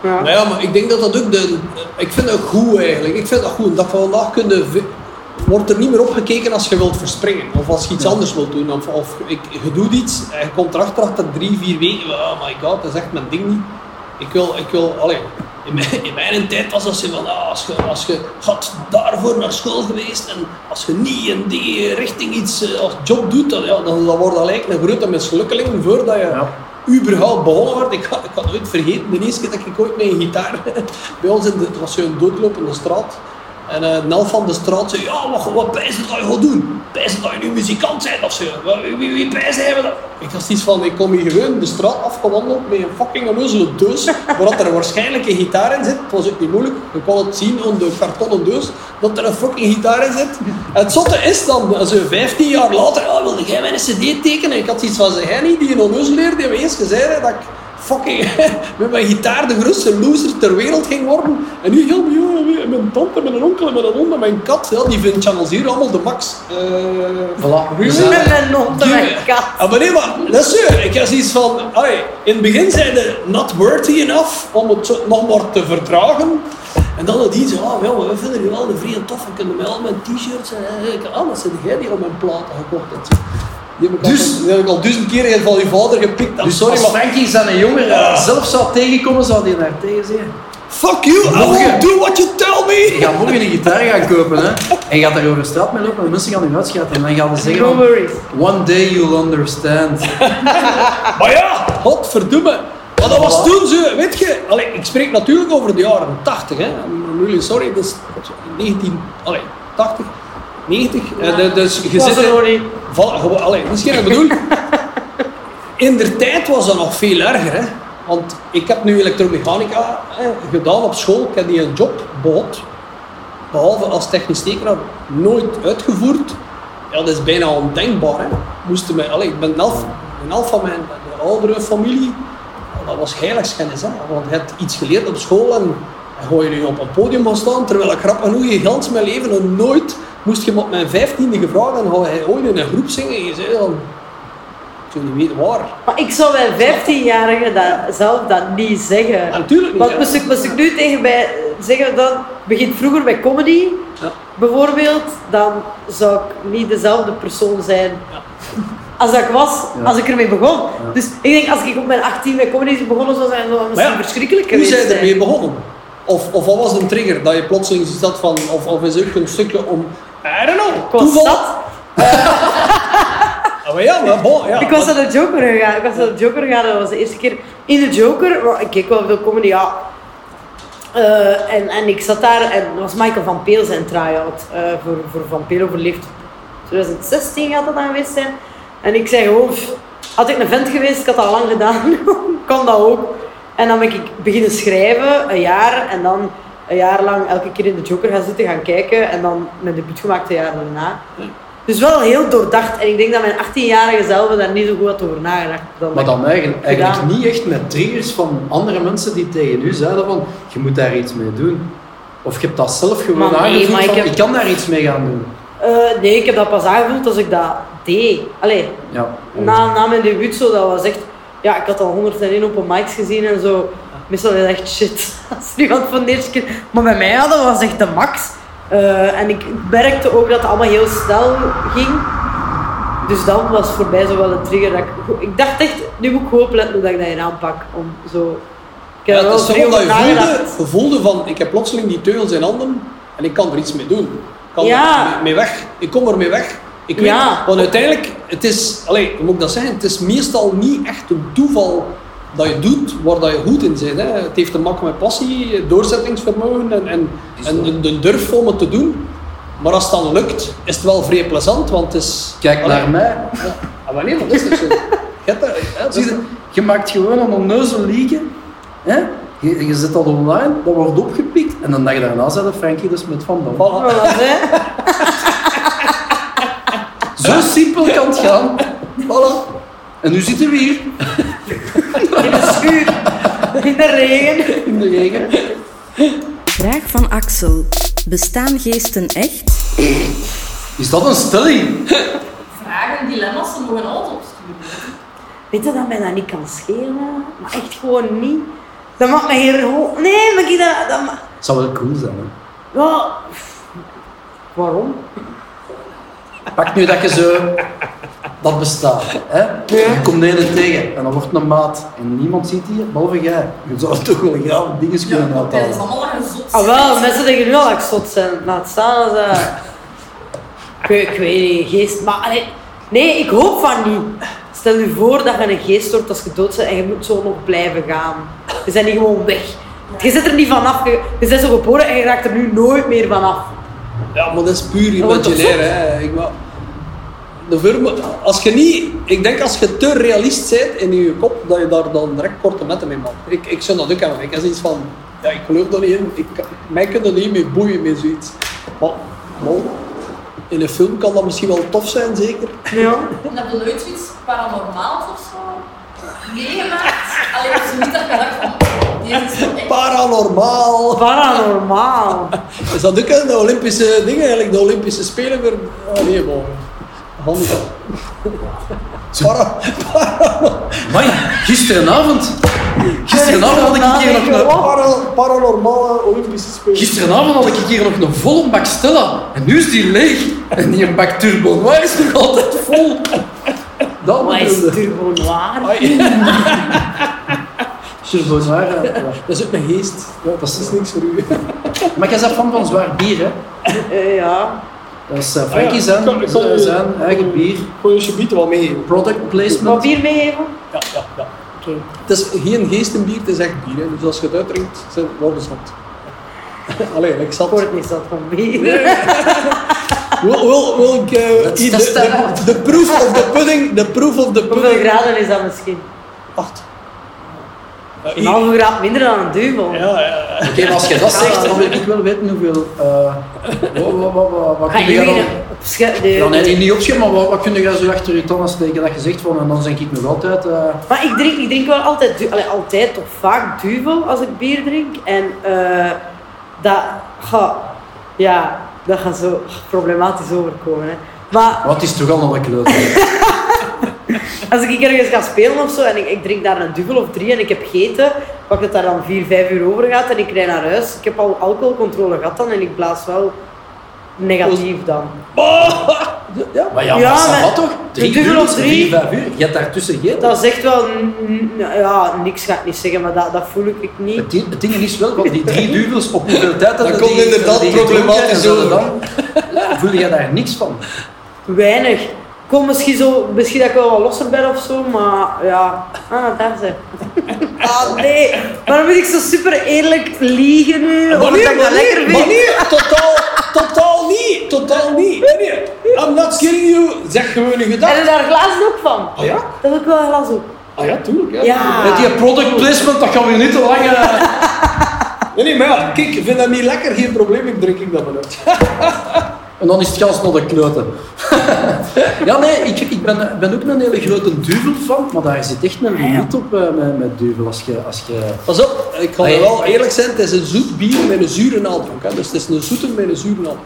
Ja. Nou ja, maar ik denk dat dat ook de... Ik vind dat goed eigenlijk. Ik vind dat goed. Dat van vandaag kun je ve- wordt er niet meer opgekeken als je wilt verspringen. Of als je iets Ja. anders wilt doen. Of, of ik, je doet iets en je komt erachter achter drie, vier weken. Oh my god, dat is echt mijn ding niet. Ik wil... Ik wil allee, in, mijn, in mijn tijd was dat zo van... ah, als je, als je had daarvoor naar school geweest en als je niet in die richting iets eh, als job doet, dan, ja, dan, dan wordt dat eigenlijk een grote mislukkeling voordat je überhaupt begonnen werd. Ik had, ik had nooit vergeten, de eerste keer dat ik ooit mijn gitaar bij ons in de, het was zo'n doodlopende straat. En eh Nel van de straat zei, ja, wat, wat pijs dat je gaat doen? Pijs dat je nu muzikant bent of zo? Wat- Wie, wie, wie pijs hebben dat? Ik was iets van, ik kom hier gewoon de straat afgewandeld met een fucking onnozele doos, waar dat er waarschijnlijk een gitaar in zit. Het was ook niet moeilijk, je kon het zien aan de kartonnen doos, dat er een fucking gitaar in zit. En het zotte is dan, zo 15 jaar later, oh, wilde jij mijn cd tekenen? Ik had iets van, zei jij niet, die onnozeler die me eens gezegd had dat ik fucking met mijn gitaar de grootste loser ter wereld ging worden. En nu heel mijn jongen, en mijn tante, mijn onkel, en mijn oom, en mijn kat, ja, die vinden channels hier allemaal de max. Eh, Voilà, Really? dus, Met eh, mijn mond en mijn die- kat. Ah, maar nee, maar dat is zo. Ik had zoiets van, allee, in het begin zijn ze not worthy enough om het zo- nog maar te vertragen. En dan had die zo, ah, wel, we vinden je wel een vriend tof, we kunnen wel mijn t-shirts en eh, ah, dat zijn jij die al mijn platen gekocht hebt. Die heb ik, Dus- al, die heb ik al duizend keer van je vader gepikt. I'm dus sorry, als maar Frankie zijn jongeren Ja. zelf zou tegenkomen, zou die naar tegen zeggen. fuck you, I Morgen. will do what you tell Je me. gaat morgen een gitaar gaan kopen hè? en je gaat daar over de straat mee lopen en mensen gaan je uitschelden en dan gaan ze zeggen No van, worries. One day you'll understand. Maar ja, godverdomme. Maar dat was toen zo, weet je. Allee, ik spreek natuurlijk over de jaren 80, hè. I'm really sorry, dat is 19... Allee, 80, 90. Eh, de- dus je Was zit... er in- nog niet. Voilà, gewoon- allee, dat is geen wat ik bedoel. In der tijd was dat nog veel erger. Hè? Want ik heb nu elektromechanica eh, gedaan op school. Ik heb die een job behot. Behalve als technisch tekenaar nooit uitgevoerd. Ja, dat is bijna ondenkbaar. Hè? Moesten mij, allee, ik ben elf, een elf van mijn mijn oudere familie. Dat dat was heiligschennis. Hè? Want je hebt iets geleerd op school en, en gooi je nu op een podium gaan staan, terwijl ik grap genoeg je gans mijn leven nog nooit moest je me op mijn vijftiende gevraagd en ga je ooit in een groep zingen. En je zei dan, ik zou niet weten waar. Maar ik zou mijn 15-jarige dat, zelf dat niet zeggen. Ja, natuurlijk niet. Want hè. moest ik, moest ik nu tegen mij zeggen, dat begint vroeger met comedy, Ja. bijvoorbeeld, dan zou ik niet dezelfde persoon zijn. Ja. Als dat ik was, Ja. als ik ermee begon. Dus ik denk, als ik op mijn 18 met comedy zou begonnen zou zijn, zou dat misschien ja, verschrikkelijk Hoe geweest zijn zijn. je ermee begonnen? Of, of wat was een trigger dat je plotseling zoiets had van, of, of is ook een stukje om, I don't know, Ik was toeval? zat. Ah, maar ja, maar bon, ja. Ik was naar de Joker gegaan. Ik was naar de Joker gegaan. Dat was de eerste keer in de Joker. Maar ik keek wel veel comedy. Ja. Eh, en, en ik zat daar en dat was Michael van Peel zijn try-out eh, voor, voor Van Peel overleefd. 2016 gaat dat dan geweest zijn. En ik zei gewoon, pff, had ik een vent geweest, ik had dat al lang gedaan. kan dat ook. En dan ben ik beginnen schrijven, een jaar. En dan een jaar lang elke keer in de Joker gaan zitten, gaan kijken. En dan mijn debuut gemaakt een jaar daarna. Dus wel heel doordacht. En ik denk dat mijn 18-jarige zelf daar niet zo goed had over nagedacht. Dan Maar dan eigen- eigenlijk Gedaan. niet echt met triggers van andere mensen die tegen u zeiden van je moet daar iets mee doen. Of je hebt dat zelf gewoon Maar nee, aangevoeld maar ik van heb- ik kan daar iets mee gaan doen. Eh, nee, ik heb dat pas aangevoeld als ik dat deed. Allee, Ja. na, na mijn debuut zo, dat was echt... Ja, ik had al 101 open mics gezien en zo. Meestal is dat echt shit. Als er iemand van de eerste keer... Maar bij mij, ja, dat was echt de max. Eh, en ik merkte ook dat het allemaal heel snel ging. Dus dat was voor mij zo wel een trigger. Dat ik, ik dacht echt, nu moet ik gewoon opletten hoe dat ik dat hier aanpak. Om zo... Ik heb Ja, er dat wel is veel gewoon dat je over voelde, nagedacht. je voelde van, ik heb plotseling die teugels in handen en ik kan er iets mee doen. Ik kan Ja. er mee- mee weg. Ik kom er mee weg. Ik weet, Ja. Want uiteindelijk, het is, allee, hoe moet ik dat zeggen, het is meestal niet echt een toeval dat je doet waar dat je goed in bent. Hè. Het heeft te maken met passie, doorzettingsvermogen en, en, en de, de durf om het te doen. Maar als het dan lukt, is het wel vrij plezant, want het is... Kijk allee, naar mij. Ja. Ah, maar nee, dat is toch zo. Je hebt dat- hè, dat is- Zie je, je maakt gewoon een onnozel liedje. Hè? Je, je zet dat online, dat wordt opgepikt. En dan dag daarna zei de Frankie dus met Van Dam. Voilà. Voilà, hè. Zo simpel kan het gaan. Voilà. En nu zitten we hier In de schuur, in de regen. in de regen. Vraag van Axel. Bestaan geesten echt? Is dat een stelling? Vragen, dilemma's, ze mogen altijd opsturen. Weet je dat mij dat niet kan schelen? Maar echt gewoon niet. Dat maakt mij hier gewoon... Nee, maar ik dat... dat ma- Zou wel cool zijn. Hè? ja, pff, Waarom? Pak nu dat je zo... Dat bestaat. Hè? Je komt de ene tegen en dan wordt een maat. En niemand ziet hier, behalve jij. Je zou toch wel graag dingen kunnen Ja, dat is uithalen. allemaal een zot. Ah wel, mensen denken nu al dat ik zot ben. Laat staan als dat... Ik, weet- ik weet niet, geest... Maar allee, nee, ik hoop van niet. Stel je voor dat je een geest wordt als je dood bent en je moet zo nog blijven gaan. Je bent niet gewoon weg. Je zit er niet vanaf. Je, je bent zo geboren en je raakt er nu nooit meer vanaf. Ja, maar dat is puur wordt toch imaginair. zot? Hè. Ik wou- de firma, als je niet, ik denk als je te realist bent in je kop, dat je daar dan direct korte metten mee maakt. Ik, ik zou dat ook hebben. Ik heb zoiets van, ja, ik geloof dat niet in. Ik, mij kunnen er niet mee boeien met zoiets. Maar, bon, in een film kan dat misschien wel tof zijn, zeker. Ja. En heb je nooit zoiets paranormaals of zo meegemaakt? Alleen als je niet dat je dacht van, deze is wel echt. Paranormaal. Paranormaal. Is dat ook een Olympische dingen eigenlijk? De Olympische Spelen weer? Oh, nee, man. Handicap. Para- Amai, gisterenavond. Gisterenavond had ik hier nog een... Para- paranormale Olympische Spelen. Gisteravond had ik hier nog een volle bak Stella. En nu is die leeg. En die bak Turbo Noir is nog altijd vol. Dat Wat is bedoelde. Turbo Noir? Ai, Turbo Noir. eh, ja. dat is ook mijn geest. Ja, dat is niks voor u. Maar jij bent fan van zwaar bier, hè? Eh, ja. Dat is eh, Frankie zijn, Ah, eh, Ik kan- ik kan- zijn eigen bier. Gooi je alsjeblieft wel mee. Product Wat placement. bier meegeven? Ja, ja, ja. Oké. Het is geen geestenbier, het is echt bier. Hè. Dus als je het uitdrinkt, zijn we worden zat. Allee, ik Ik zat. word niet zat van bier. Wil, wil, wil ik eh, Dat is i- de, de, testen. de proof of the pudding, de proof of the Hoeveel pudding. graden is dat misschien? Acht. Een halve graad minder dan een duivel. Ja, ja. Oké, maar als je dat zegt, dan wil ik wel weten hoeveel... eh wat, wat, wat, wat, wat Ga kun je iedereen dan... op sche- de- Ja, nee, die niet opschieten, maar wat, wat kun je zo achter je tanden steken dat je zegt van... En dan denk ik nog altijd... eh, Maar ik drink, ik drink wel altijd, du- allee, altijd of vaak duvel als ik bier drink. En eh, dat gaat, ja, dat gaat zo problematisch overkomen. Hè. Maar wat is toch allemaal leuk? als ik ergens ga spelen of zo en ik, ik drink daar een duvel of drie en ik heb gegeten, pak dat daar dan vier, vijf uur over gaat en ik rijd naar huis. Ik heb al alcoholcontrole gehad dan en ik blaas wel negatief dan. Ja, maar ja, Ja, maar maar- dat toch? Drie dubbel uur, of drie? vier, vijf uur. Je hebt daartussen gegeten. Dat is echt wel, n- n- ja, niks ga ik niet zeggen, maar dat, dat voel ik niet. Het, ding- het ding is wel, want die drie duvels op hoeveel tijd dat Dat die- komt inderdaad die gedronken problematisch en zo, over. Dan voel je daar niks van. Weinig. Ik Kom misschien, zo, misschien dat ik wel wat losser ben of zo, maar ja. Ah, daar zijn. Ah nee, waarom moet ik zo super eerlijk liegen Ah, nu? Omdat ik dat lekker vind. maar nee, totaal, totaal niet, totaal niet. Nee, nee. I'm not kidding you. Zeg gewoon je Heb gedachte. je daar glazen ook van? Ah ja? Dat is ook wel glas ook. Ah ja, tuurlijk. Ja. Ja. Met die product placement, dat gaan we niet te lang... eh. Nee, nee, maar ja, kijk, ik vind dat niet lekker, geen probleem, ik drink ik dat maar uit. En dan is het gans nog de kloten. ja, nee, ik, ik ben, ben ook een hele grote duvelfan, maar daar zit echt een limiet op eh, met, met duvel. Als je, als je... Pas op, ik Ah, ga er wel eerlijk zijn, het is een zoet bier met een zure nadruk. Hè. Dus het is een zoete met een zure nadruk.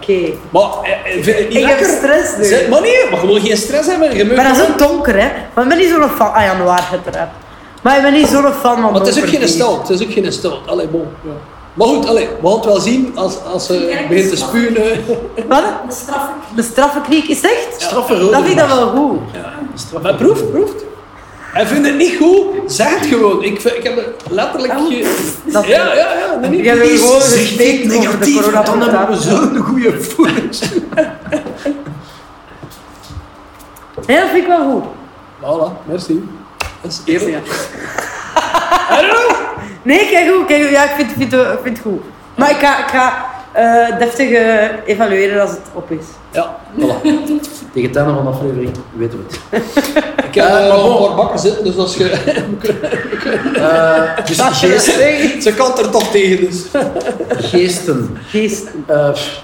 Oké. Maar eh, eh, vind je het niet Ik heb lekker? stress nu. Zeg, maar nee, maar je wil geen stress hebben. Je Maar maar, dat is ook donker, hè? Maar ik ben niet zo'n fan. Ah, januari uiteraard. Maar ik ben niet zo'n fan van maar het is ook donker geen bier. stout. Het is ook geen stout. Allee, bon. Ja. Maar goed, allee, we gaan het wel zien als, als ze Kijk, begint te dat is spuwen. eh. Wat? De straf De straffenkniek is het echt? Straffe rode Dat vind ik dat mars. wel goed. Straffe Maar proef, proef. En vind het niet goed, zeg het gewoon. Ik, vind- ik heb het letterlijk... ge- Ah, dat- ja, ja, ja. Nee, Ik heb nee. er gewoon Zeg respect niet over de negatief, want dan hebben we coronaparaat. zo'n goede voet. dus- Nee, dat vind ik wel goed. Voilà, merci. Dat is eerlijk. Hallo? Nee, kijk goed. Kijk, goed. ja, ik vind, vind, eh, vind het goed. Maar ik ga, ik ga eh, deftig eh, evalueren als het op is. Ja, Voilà. Tegen het einde van de aflevering weten we het. ik heb Eh, eh, maar nog bon. een paar bakken zitten, dus als je... Eh, dus geest, Ze kan er toch tegen, dus. geesten. Geest. Eh, pff,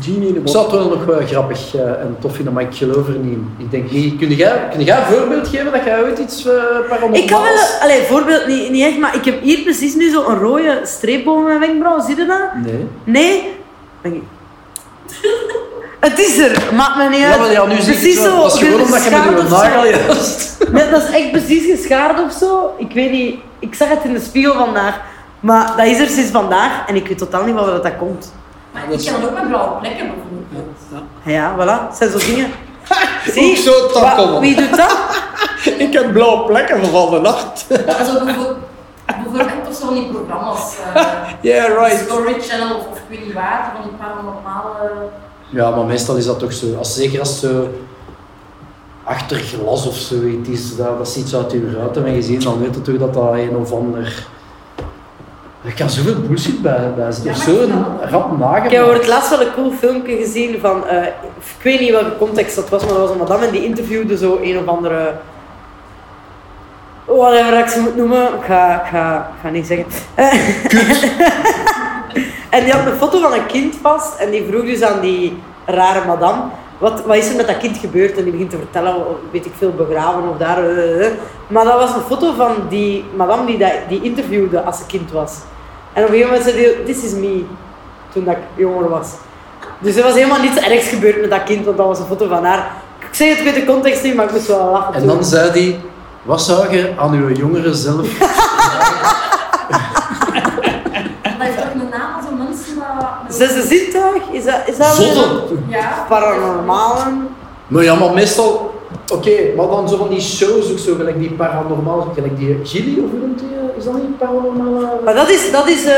Genie in de ik zou het wel nog wel grappig eh, en tof vinden, maar ik geloof er niet in. Ik denk, hey, kun, jij, kun jij een voorbeeld geven dat jij ooit iets eh paranormaals... Ik kan wel... Allee, voorbeeld niet, niet echt, maar ik heb hier precies nu zo'n rode streep boven mijn wenkbrauw. Zie je dat? Nee. Nee? Denk ik. Het is er, maakt me niet uit. Ja, maar ja, nu zie ik precies het wel. Dat is zo, gewoon omdat je met geschaard je of zo. nagel juist... Nee, dat is echt precies geschaard of zo. Ik weet niet, ik zag het in de spiegel vandaag. Maar dat is er sinds vandaag en ik weet totaal niet waar dat komt. Maar ik kan ook met blauwe plekken bijvoorbeeld. Ja, voilà, het zijn zo dingen. Ook zo het dan Wa- komen. Wie doet dat? Ik heb blauwe plekken van de nacht. Maar Zo bijvoorbeeld, bijvoorbeeld op zo'n die programma's. eh, Yeah, right. Story Channel of, of ik weet niet waar, van die paranormale... Ja, maar meestal is dat toch zo. Als, zeker als ze achter glas of zoiets is, dat, dat is iets uit uw ruiten en gezien, dan weet je toch dat dat een of ander. Er kan zoveel bullshit bij, bij zitten. Ja, Of maar zo'n ja. rap nagel. Ik heb voor het laatst wel een cool filmpje gezien van, eh, ik weet niet welke context dat was, maar dat was een madame en die interviewde zo een of andere, whatever ik ze moet noemen, ik ga, ik ga, ik ga niet zeggen. en die had een foto van een kind vast en die vroeg dus aan die rare madame, wat, wat is er met dat kind gebeurd? En die begint te vertellen, oh, weet ik veel, begraven of daar. eh, eh. Maar dat was een foto van die madame die, dat, die interviewde als ze kind was. En op een gegeven moment zei die, this is me, toen dat ik jonger was. Dus er was helemaal niets ergs gebeurd met dat kind, want dat was een foto van haar. Ik zeg het, ik weet de context niet, maar ik moest wel lachen En toen. dan zei hij: Wat zou je aan uw jongeren zelf. En dat is ook een naam van zo'n mensen dat... Zesde zintuig, is dat, is dat Zotten. Ja. Paranormalen. Maar ja, maar meestal. Oké, maar dan zo van die shows ook zo, gelijk die paranormaal, gelijk die Gilly of hoe noemt die, eh, is dat niet paranormaal? Maar dat is, dat is, eh,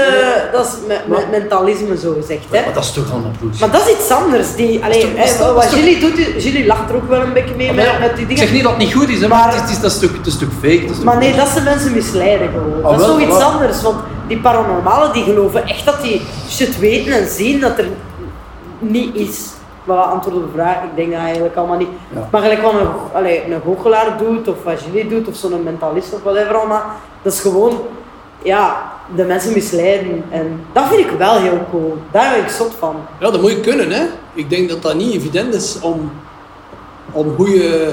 dat is me- me- mentalisme zo gezegd, hè. Maar dat is toch allemaal bullshit. Maar dat is iets anders. Die, allee, Dat is toch- dat is hè, toch- wat dat is Julie doet, Julie lacht er ook wel een beetje mee Maar ja, met, met die ik dingen. zeg niet dat het niet goed is, hè, maar het is, het is, dat is toch, het is toch fake. dat is toch- Maar nee, dat ze mensen misleiden gewoon. Ah, dat is wel, toch iets wel. anders, want die paranormalen die geloven echt dat die shit weten en zien dat er niet is. Maar antwoord op de vraag, ik denk dat eigenlijk allemaal niet. Ja. Maar gelijk wat een, allee, een goochelaar doet, of wat Julie doet, of zo'n mentalist of whatever allemaal, Dat is gewoon, ja, de mensen misleiden. En dat vind ik wel heel cool. Daar ben ik zot van. Ja, dat moet je kunnen, hè. Ik denk dat dat niet evident is om, om goede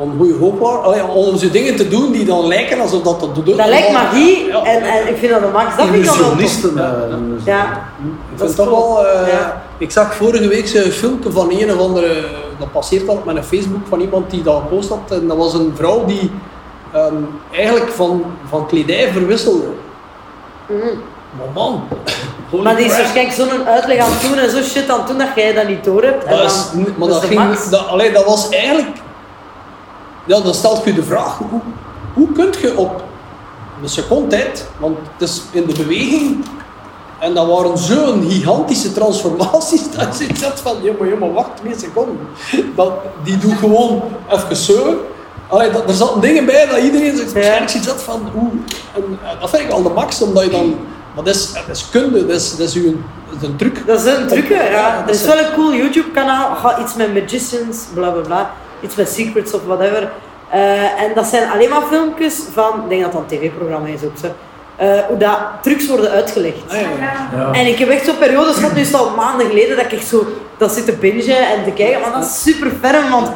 om goede hoopwaar, allee, om zo dingen te doen die dan lijken alsof dat dat doet. Dat lijkt magie Ja. en, en ik vind dat de max. Dat vind ik dan wel tof. Illusionisten. eh, noemen ze Ja. Ik, Dat vind is toch cool. wel, eh, Ja. ik zag vorige week een filmpje van een of andere, dat passeert dan op mijn Facebook, van iemand die dat gepost had. En dat was een vrouw die ehm, eigenlijk van, van kledij verwisselde. Maar man, Mhm. holy Maar die is crap. waarschijnlijk zo'n uitleg aan het doen en zo shit aan het doen dat jij dat niet door hebt. En Dat dan- is, niet- maar is dat, de ging, max. dat, allee, dat was eigenlijk. Ja, dan stelt je de vraag: hoe, hoe kun je op een seconde tijd, want het is in de beweging, en dat waren zo'n gigantische transformaties, dat je zegt van: jongen, jongen, wacht twee seconden. Dat, die doet gewoon even zo. Allee, dat, er zaten dingen bij dat iedereen zegt, waarschijnlijk ziet dat van oeh. En, eh, dat vind ik wel de max, omdat je dan. Maar dat is, dat is kunde, dat is, dat is, uw, dat is een truc. Dat is een trucje, ja. Er dat is wel een cool YouTube-kanaal, ga iets met magicians, bla bla bla, iets met secrets of whatever. Eh, en dat zijn alleen maar filmpjes van, ik denk dat dat een tv-programma is ook zo, eh, hoe dat trucs worden uitgelegd. Ah, ja, ja. Ja. En ik heb echt zo'n periode gehad, nu is het al maanden geleden, dat ik echt zo dat zit te bingen en te kijken, maar dat is super ferm, want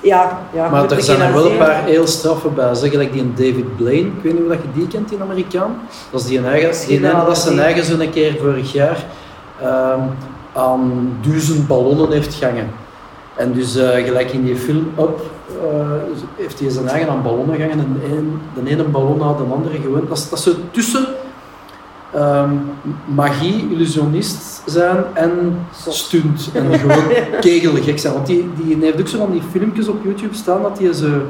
ja, ja Maar moet er ik zijn hier er naar wel een zeggen. paar heel straffen bij. Zeg gelijk die een David Blaine, ik weet niet of dat je die kent, die Amerikaan. Dat is die een eigen, die Misschien ene wel, dat zijn die- eigen zo'n keer vorig jaar ehm, aan duizend ballonnen heeft gangen. En dus eh, gelijk in die film Up eh, heeft hij zijn eigen aan ballonnen gangen en de een, de ene ballon had de andere gewoond. Dat is, dat is zo tussen ehm, magie, illusionist zijn en Zot. stunt. En gewoon kegelgek zijn. Want die, die heeft ook zo van die filmpjes op YouTube staan dat die ze...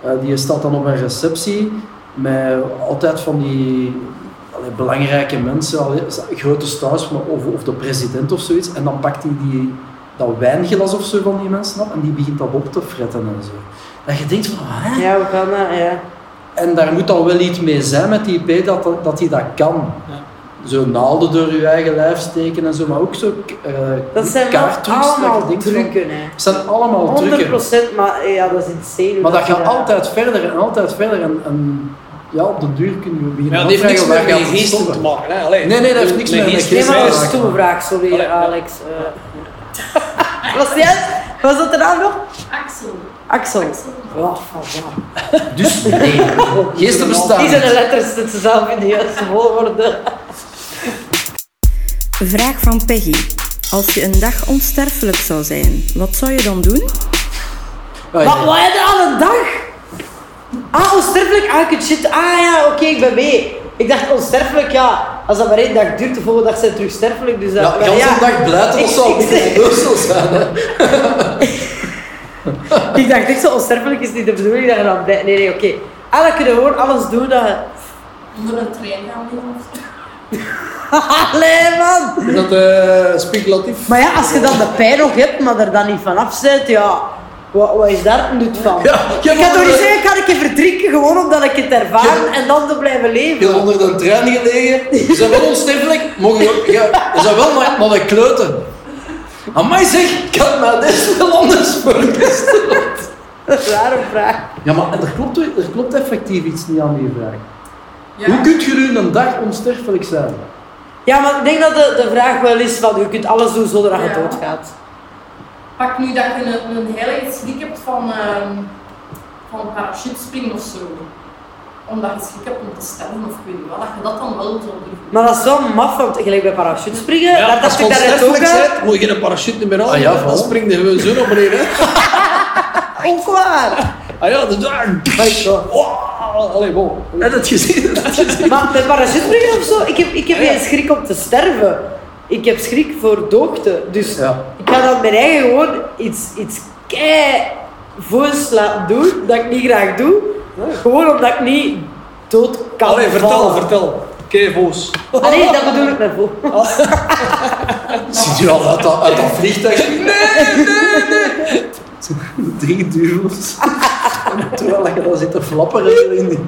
eh, die staat dan op een receptie met altijd van die allee, belangrijke mensen, allee, grote stars maar of, of de president of zoiets. En dan pakt hij die, dat wijnglas of zo van die mensen op en die begint dat op te fretten en zo. Dat je denkt van, hè? Ja, we gaan naar, ja. En daar moet dan wel iets mee zijn met die IP dat dat dat, die dat kan. Zo naalden door je eigen lijf steken en zo, maar ook zo eh Dat zijn wel kaarttrucs dat je allemaal denkt van- trucken, hè. Het zijn allemaal trucken. 100%, maar eh, ja, dat is insane. hoe Maar dat je gaat altijd verder en altijd verder. En, en ja, op de duur kunnen we beginnen Ja, dat heeft niks afvragen met waar je gaat het geesten te stoppen. maken. Hè? Allee, Nee, nee, dat heeft niks met- met geesten Nee, geesten te maar dat maken. is een stomme vraag, sorry Allee, ja. Alex. Eh, was, die, was dat de naam nog? Axel. Axel. Ja, van ja. Dus nee, geesten bestaan Die zijn de niet. letters dat ze zelf in de juiste volgorde. Vraag van Peggy. Als je een dag onsterfelijk zou zijn, wat zou je dan doen? Ah, Wat, ja. wat heb je aan een dag? Ah, onsterfelijk? Ah, ik het shit. Ah ja, oké, ik ben mee. Ik dacht onsterfelijk, ja. Als dat maar één dag duurt, de volgende dag zijn ze terug sterfelijk. Dus dat, Ja, maar gans ja. een dag blijten, Ik- dat zou ik- niet universal zijn. Hè. Ik dacht echt zo, onsterfelijk is niet de bedoeling dat je dan blijft. Nee, nee, oké. Ah, dan kunnen we gewoon alles doen dat je... Onder een trein gaan liggen of zo. Allee, man! Is dat eh, speculatief? Maar ja, als je dan de pijn nog hebt, maar er dan niet vanaf bent, ja... Wat, wat is daar het nut van? Ja, ik heb ik kan toch niet onder- zeggen, ik ga een keer verdrinken, gewoon omdat ik het ervaar en dan te blijven Je hebt leven. onder de trein gelegen. Je bent wel onsterfelijk. Mogen je, ja, je bent wel maar, maar de kleuten. Amai zeg, ik had mij des wel anders voorgesteld. Dat is een rare vraag. Ja, maar er klopt, er klopt effectief iets niet aan die vraag. Ja. Hoe kunt je nu een dag onsterfelijk zijn? Ja, maar ik denk dat de, de vraag wel is van, je kunt alles doen zonder dat je Ja. doodgaat. Pak nu dat je een, een heilige schrik hebt van, ehm van een parachutespring of zo. Omdat je schrik hebt om te sterven of ik weet niet wat. Dat je dat dan wel zou doen. Maar dat is wel maf, want gelijk bij parachutespringen, Ja, dat als dacht je ik daarnet ook onsterfelijk aan. bent, moet je geen parachute meer aan. Ah, ja, dan voilà. springt de gewoon zo naar beneden. hè. Ook waar! Ah ja, dat is daar. Wow. Allee, wow. Heb je dat gezien? Maar met parachutespringen of zo, ik heb, ik heb Ja. geen schrik om te sterven. Ik heb schrik voor doogte. Dus Ja. ik ga dan mijn eigen gewoon iets, iets kei voos laten doen, dat ik niet graag doe. Gewoon omdat ik niet dood kan Allee, vertel, vallen. vertel. Kei boos. Allee, dat bedoel ik met vol. Zit je al uit dat, uit dat vliegtuig? Nee, nee, nee. Drie duivels. Terwijl je daar zit te flapperen. In die...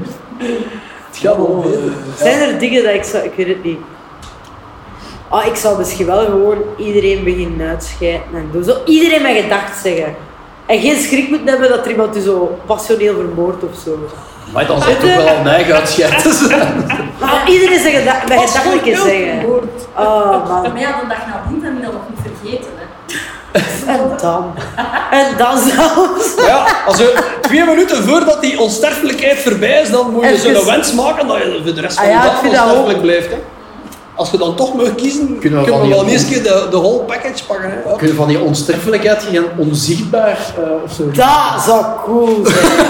Het gaat wel beter. Zijn er dingen dat ik zou... Ik weet het niet. Ah, ik zou misschien wel gewoon iedereen beginnen uitscheiden en doen. Zo iedereen mijn gedacht zeggen. En geen schrik moet hebben dat er iemand u zo passioneel vermoordt of zo. Maar dan zit toch wel een eigen uitscheiden. Maar iedereen zijn geda- mijn gedachten zeggen. vermoord. Oh man. Maar ja, de dag nadien ben ik dat nog niet vergeten. Hè. En dan. En dan zelfs. Ja, als je twee minuten voordat die onsterfelijkheid voorbij is, dan moet je Even- zo'n wens maken dat je voor de rest van Ah ja, de ik dag vind dat ook. onsterfelijk blijft. Hè. Als je dan toch mag kiezen, Kunnen kunnen we we, van die wel on- eens keer de, de whole package pakken. Hè. Kun je van die onsterfelijkheid geen onzichtbaar eh, of zo? Dat zou cool zijn.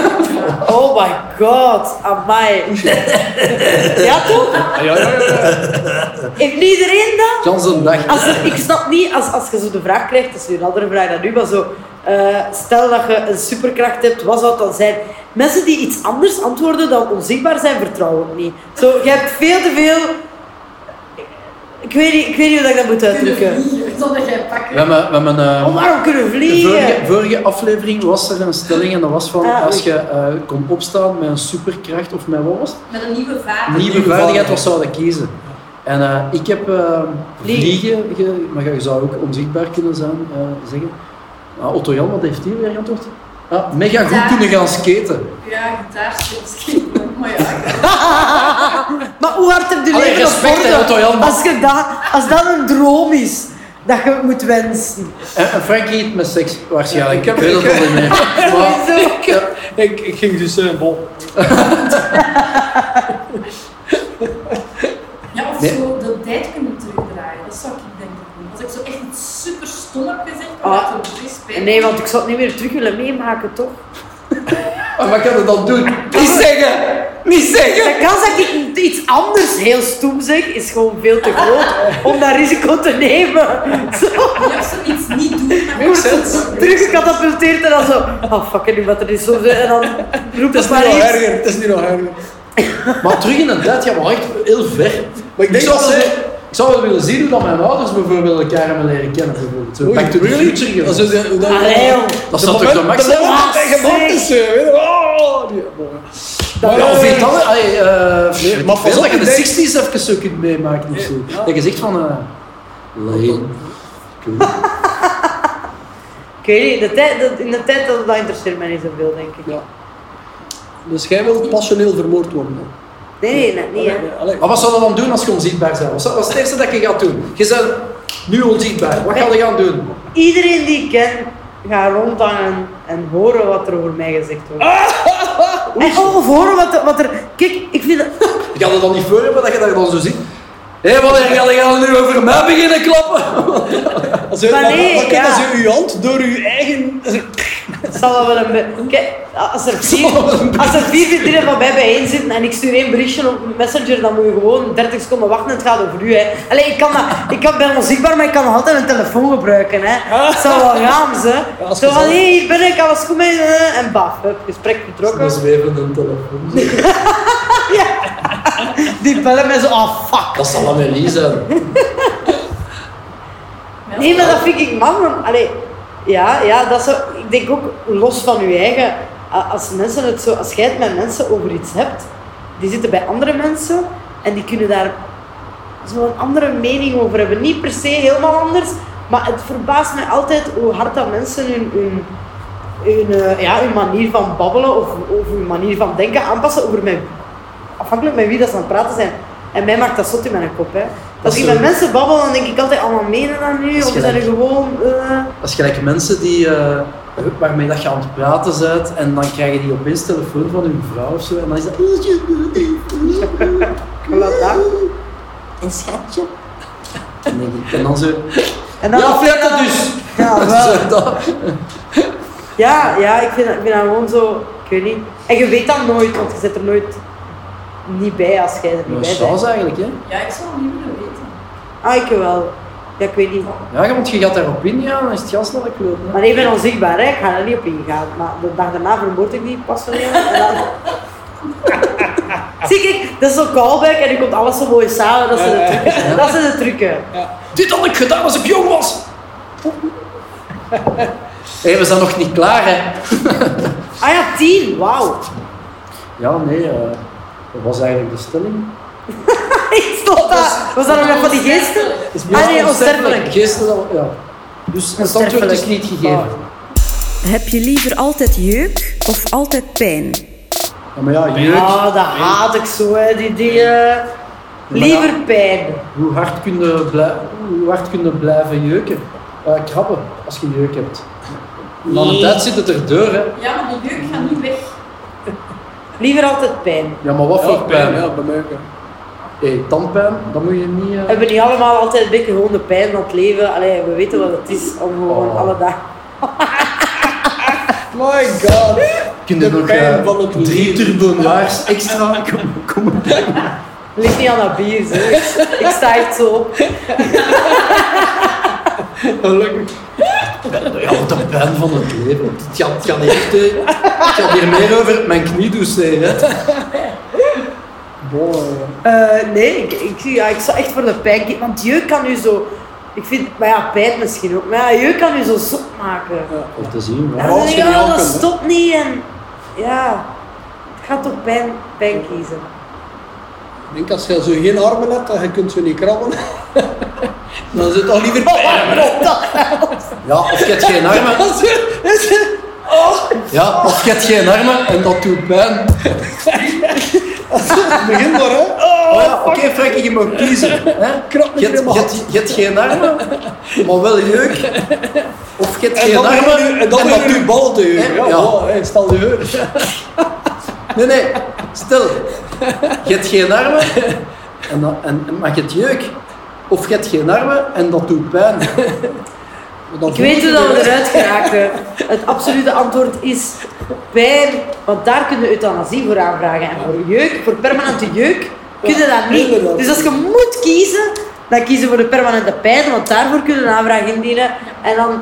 Oh my god. Amai. Ja toch? Ja, ja, ja, ja. Heeft niet iedereen dat? Jans een dag. Als er- ik snap niet, als, als je zo de vraag krijgt, dat is nu een andere vraag dan nu, maar zo, eh, stel dat je een superkracht hebt, wat zou het dan zijn? Mensen die iets anders antwoorden dan onzichtbaar zijn, vertrouw ik niet. Zo, je hebt veel te veel... Ik weet niet, ik weet niet hoe ik dat moet Kunnen uitdrukken. vliegen, zonder jij pakken. We hebben, we hebben een... Oh, waarom kunnen De vliegen? vorige, vorige aflevering was er een stelling en dat was van Ah, als oei. je eh, kon opstaan met een superkracht of met wat was het? Met een nieuwe vader. Nieuwe nieuwe vaardigheid, vaardigheid. wat zou je kiezen? En eh, ik heb eh, vliegen, ge- maar je zou ook onzichtbaar kunnen zijn, eh, zeggen. Ah, Otto Jan, wat heeft hij weer geantwoord? Ah, mega goed Ja. kunnen gaan skaten. Ja, gitaarspels. Maar ja, ik- Maar hoe hard heb je Allee, leren respect, hè, Otto worden? Jan. Als, je dat, als dat een droom is, dat je moet wensen. En, en Frankie eet met seks, waarschijnlijk. Ja, ik heb- weet het ik- al niet meer. Maar, Ik, ik, ik ging dus eh, bol. ja, of Nee. zo de tijd kunnen terugdraaien. Dat zou ik denk ik doen. Als ik zo echt iets super stom heb gezegd, dan Ah. laat het drie spelen. Nee, want ik zou het niet meer terug willen meemaken, toch? Ah, En wat kan je dan doen? Niet zeggen! Niet zeggen! De kans dat ik iets anders heel stoem zeg, is gewoon veel te groot om dat risico te nemen. Zo, Ja, als ze iets niet doen, dan Makes sense. teruggecatapulteerd en dan zo... Oh, fuck, en nu wat er is soms... En dan roept Het het is niet maar nog iets. erger, het is niet nog erger. maar terug in de tijd, ja, maar echt heel ver. Maar ik denk zou dat wel- ze... ik zou wel willen zien hoe dat mijn ouders bijvoorbeeld elkaar hebben leren kennen. Bijvoorbeeld. Zo, Back to the future. gedaan. Dat is de- dat- Allee, joh. Dat De zou toch moment- de max de zijn? moment dat hij Ah, geboren is, eh, weet je wel. Oh, die- Maar Maar ja, ja, of weet eh, dat, allee, eh, Nee, ik weet maar pas op, dat je ik de denk- 60s even zo kunt meemaken of zo. Dat je zegt van. eh Leen. Cool. Ik weet niet, de tijd, dat- in de tijd dat dat interesseert mij niet zoveel, denk ik. Ja. Dus jij wil passioneel vermoord worden? dan? Nee, nee, net niet, hè. Allee. Maar wat zou je dan doen als je onzichtbaar bent? Wat zou- wat is het eerste dat je gaat doen? Je bent nu onzichtbaar. Wat ga je gaan doen? Iedereen die ik ken, gaat rondhangen en horen wat er over mij gezegd wordt. Ah! En ook of horen wat, er- wat er... Kijk, ik vind dat... Je gaat het dan niet voor hebben dat je dat dan zo ziet. Hé, hey, wanneer ga je nu over mij beginnen klappen? Als je, Maar maar nee, wat kan ja. als je je hand door je eigen... Het zal wel wel een be- Kijk, als er vier, als er vier vriendinnen van mij bijeen zitten en ik stuur één berichtje op mijn messenger, dan moet je gewoon 30 seconden wachten en het gaat over u. Hè. Allee, ik kan dat, ik kan, ben onzichtbaar, maar ik kan nog altijd een telefoon gebruiken. Hè. Het zou wel raam zijn. Ja, als Zo je van, zal- hé, hier ben ik, alles goed mee? eh, En baf, hup, gesprek Dat betrokken. is even een telefoon. Die bellen mij zo, ah fuck. Dat zal Amelie zijn. Nee, maar dat vind ik man. man. Allee, ja, ja, dat zou, ik denk ook los van je eigen. a- Als, mensen het zo, als jij het met mensen over iets hebt, die zitten bij andere mensen en die kunnen daar zo'n andere mening over hebben. Niet per se helemaal anders, maar het verbaast mij altijd hoe hard dat mensen hun, hun, hun, eh, ja, hun manier van babbelen of, of hun manier van denken aanpassen over mij. Afhankelijk met wie dat ze aan het praten zijn. En mij maakt dat zot in mijn kop. Hè. Als is ik zo. met mensen babbel, dan denk ik altijd allemaal menen dan nu. is Of zijn er gelijk. gewoon... eh, Dat is gelijk mensen die, eh, waarmee dat je aan het praten bent en dan krijg je die opeens telefoon van hun vrouw of zo en dan is dat... "Oh, en wat dan? En, denk ik- en dan zo... En dan- Ja, flirt dat dus! Ja, wel. Zo dat. Ja, ja ik, vind, dat- ik vind dat gewoon zo... Ik weet niet. En je weet dat nooit, want je zit er nooit niet bij als jij er niet Maar bij bent. chance eigenlijk, hè? Ja, ik zou het niet willen weten. Ah, ik wel. Ja, ik weet niet. Ja, want je gaat daarop in, ja, dan is het gas snel kloot. hè. Maar ik ben onzichtbaar, hè. ik ga er niet op ingaan. Maar de dag daarna vermoord ik die passioneel. En dan... Zie ik, dat is zo'n callback en nu komt alles zo mooi samen. Dat zijn de trucken. Dat zijn de trucken. Dit had ik gedaan als ik jong was! Hé, we zijn nog niet klaar, hè? Ah ja, tien, wauw. Ja, nee, eh, dat was eigenlijk de stelling. Ik stond daar. Was dat nog net van die geesten? Ah nee, onsterfelijk. Gisteren, ja. Dus het antwoord is niet gegeven. Ah. Heb je liever altijd jeuk of altijd pijn? Ja, maar ja, jeuk, Ah, dat haat ik zo, hè, die dingen. Liever pijn. hoe hard kun je, blij- hoe hard kun je blijven jeuken? Eh, krabben, als je jeuk hebt. Na een tijd zit het er deur, hè. Ja, maar die jeuk gaat niet weg. Liever altijd pijn. Ja, maar wat Ja, voor pijn? Oh, ja, bij mij ook. hè. Hé, tandpijn, dat moet je niet... eh, We hebben niet allemaal altijd een beetje gewoon de pijn van het leven. Allee, we weten wat het is om gewoon Oh. alle dagen... My god. Kun je De nog pijn eh, van het drie leven. turbojaars extra komen? komen doen? Ligt niet aan dat bier, hè. Ik- Ik sta echt zo op. Gelukkig. Ja, de pijn van het leven. Het gaat, het gaat niet echt, hè. Het gaat hier meer over mijn knie dus, hè. Boah. Eh, nee, ik, ik, ja, ik zou echt voor de pijn kiezen. Want jeuk kan u zo... Ik vind... Maar ja, pijn misschien ook. Maar ja, jeuk kan u zo zot maken. Om te zien, Ja, ja. dan als denk je ik, niet oh, aan dat kunt, hè. stopt niet. En ja, ik ga toch pijn, pijn kiezen. Ik denk, als je zo geen armen hebt, dan je kunt zo niet krabben. Dan zit al liever pijn. ja, of je hebt geen armen. Dat is- dat is- Ja, of je hebt geen armen en dat doet pijn. Begin maar, hè. Oh ja, oké Frankie, je mag kiezen. Hè? Krap me Je, hebt, helemaal. je, hebt, je hebt geen armen, maar wel jeuk. Of je hebt En geen dan armen weer- en dan en weer dat doet- uw bal te Hè? huren. Ja, Ja. wow, hè, stel je voor. Nee, nee, stil. Je hebt geen armen, en dan, en, en- maar je hebt jeuk. Of je hebt geen armen en dat doet pijn. Maar dan Ik weet hoe dat we eruit geraken. Het absolute antwoord is pijn. Want daar kun je euthanasie voor aanvragen. En voor jeuk, voor permanente jeuk, kun je dat niet. inderdaad. Dus als je moet kiezen, dan kiezen we voor de permanente pijn. Want daarvoor kun je een aanvraag indienen. En dan,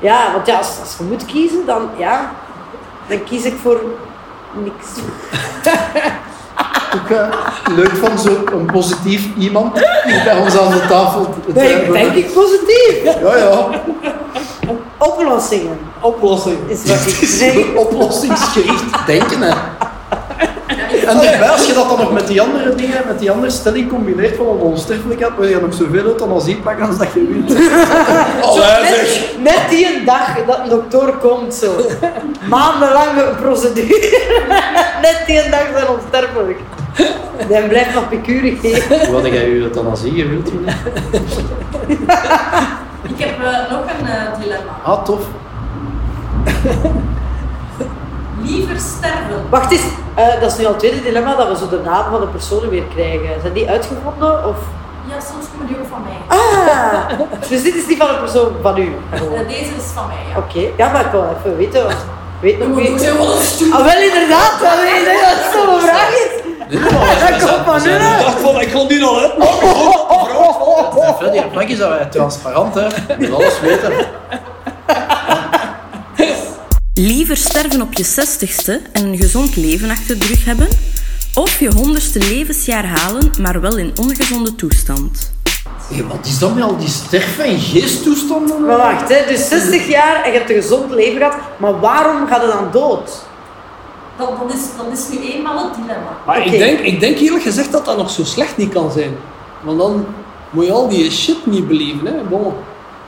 ja, want ja, als, als je moet kiezen, dan, ja, dan kies ik voor niks. ook eh, leuk van zo'n positief iemand hier bij ons aan de tafel te Nee, ik hebben. denk ik positief. Ja, ja. Oplossingen Oplossing. is wat ik zeg. Zo Oplossingsgericht denken, hè. En daarbij, als je dat dan nog met die andere dingen, met die andere stelling combineert van wat onsterfelijkheid, wil je nog zoveel euthanasie pakken als dat je wilt. Allee, zeg. Net, net die een dag dat een dokter komt, zo. Maandenlange procedure. Net die een dag zijn onsterfelijk. Dan blijft nog picure geven. Wat heb jij je euthanasie gewild? June? Ik heb eh, nog een eh, dilemma. Ah, tof. Liever sterven. Wacht eens, eh, dat is nu al het tweede dilemma dat we zo de naam van de personen weer krijgen. Zijn die uitgevonden? Of... Ja, soms komen die ook van mij. Ah, dus dit is die van de persoon van u. gewoon. Eh, Oké, deze is van mij, ja. ja, maar ik wil even weten. want ik Weet nog Ik moet ook wie. zeggen, wat een stoel. Ah, wel inderdaad, dat weet ik, dat is zo'n vraag. is. Dat komt van u. Ik dacht van, Ah, ik ga nu al uit. Maar Freddy, Frank is dat wij transparant, hè. Je wil alles weten. Liever sterven op je 60ste en een gezond leven achter de rug hebben? Of je 100ste levensjaar halen, maar wel in ongezonde toestand? Hé, wat is dat met al die sterven en geesttoestanden? Maar wacht, hè, dus 60 jaar en je hebt een gezond leven gehad, maar waarom gaat het dan dood? Dat, dat, is, dat is nu eenmaal het dilemma. ik, Oké. denk, ik denk eerlijk gezegd dat dat nog zo slecht niet kan zijn. Want dan moet je al die shit niet beleven. Hè. Bon.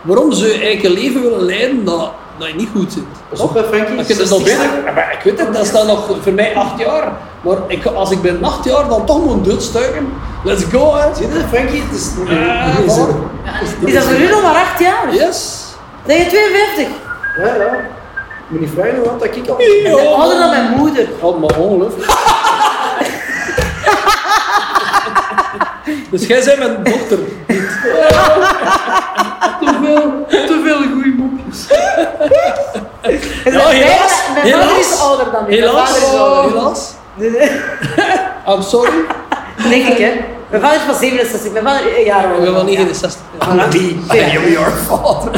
Waarom zou je eigen leven willen leiden dat, dat je niet goed zit? Pas op, hè, Frankie. Ik, dat nog 60 beter, Ja, maar ik weet het, dat is dan nog voor mij acht jaar. Maar ik, als ik binnen acht jaar dan toch moet doodstuiken, let's go hè. Zie je, Frankie, het is... Ja, Is het- voilà. Ja, en Is dat voor u nog maar 8 jaar? Yes. Zijn je 52? Ja, ja. Moet niet vragen hoe oud dat ik al... En Oh. dan ouder dan mijn moeder. Allemaal Oh, ongelooflijk. dus jij bent mijn dochter. Te veel, te veel goeie mopjes. En Ja, zijn helaas, bijna- Mijn vader is helaas. ouder dan u. Mijn Helaas. vader is ouder. Helaas. I'm sorry. Oh. Denk ik, hè. Mijn vader is van 67, mijn vader eh, een jaar Ik ben ouder. wel 69. Andy, I am your father.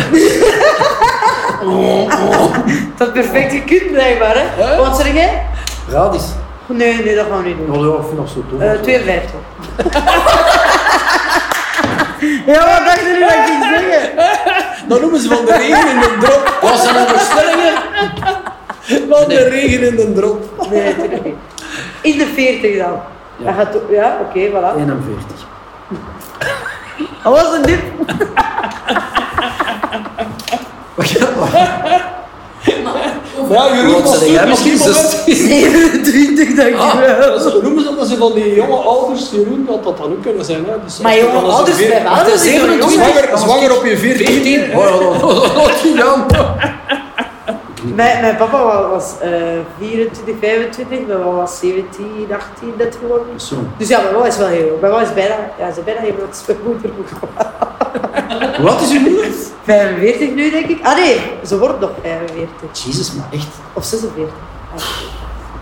Dat perfect gekund, blijkbaar, hè. Hè? Wat zeg jij? Radis. Nee, nee, dat gaan we niet doen. Oh, ja, ik vind dat zo tof. Eh, 52. Ja, wat dacht je nu dat ik ging zeggen? Dan noemen ze van de regen in de drop. Wat zijn dat voor stellingen? Van de regen in de drop. Nee, natuurlijk niet. In de 40 dan. Ja. Ja, gaat, ja oké, 41. voilà. Dat was een dip. Wacht, wacht. Maar over. Ja, Jeroen Wat was zei jij toen misschien misschien moment... 27, Ah, dankjewel. dat is- noemen ze dat ze van die jonge ouders, Jeroen, dat dat dan ook kunnen zijn. Hè? Dus maar als je jonge dan eens ouders een bij veer- wel. dat is niet zo jong. Zwanger, zwanger op je 14. Oh, Wat gedaan? Mijn, mijn papa wa- was eh 24, 25, mijn mama was 17, 18 net geworden. Zo. Dus ja, mijn mama is wel heel jong. Mijn mama is bijna, ja, ze is bijna heel wat mijn moeder ook. Wat is uw moeder? 45 nu denk ik. Ah nee, ze wordt nog 45. Jezus, maar echt. Of 46. Ah, oké.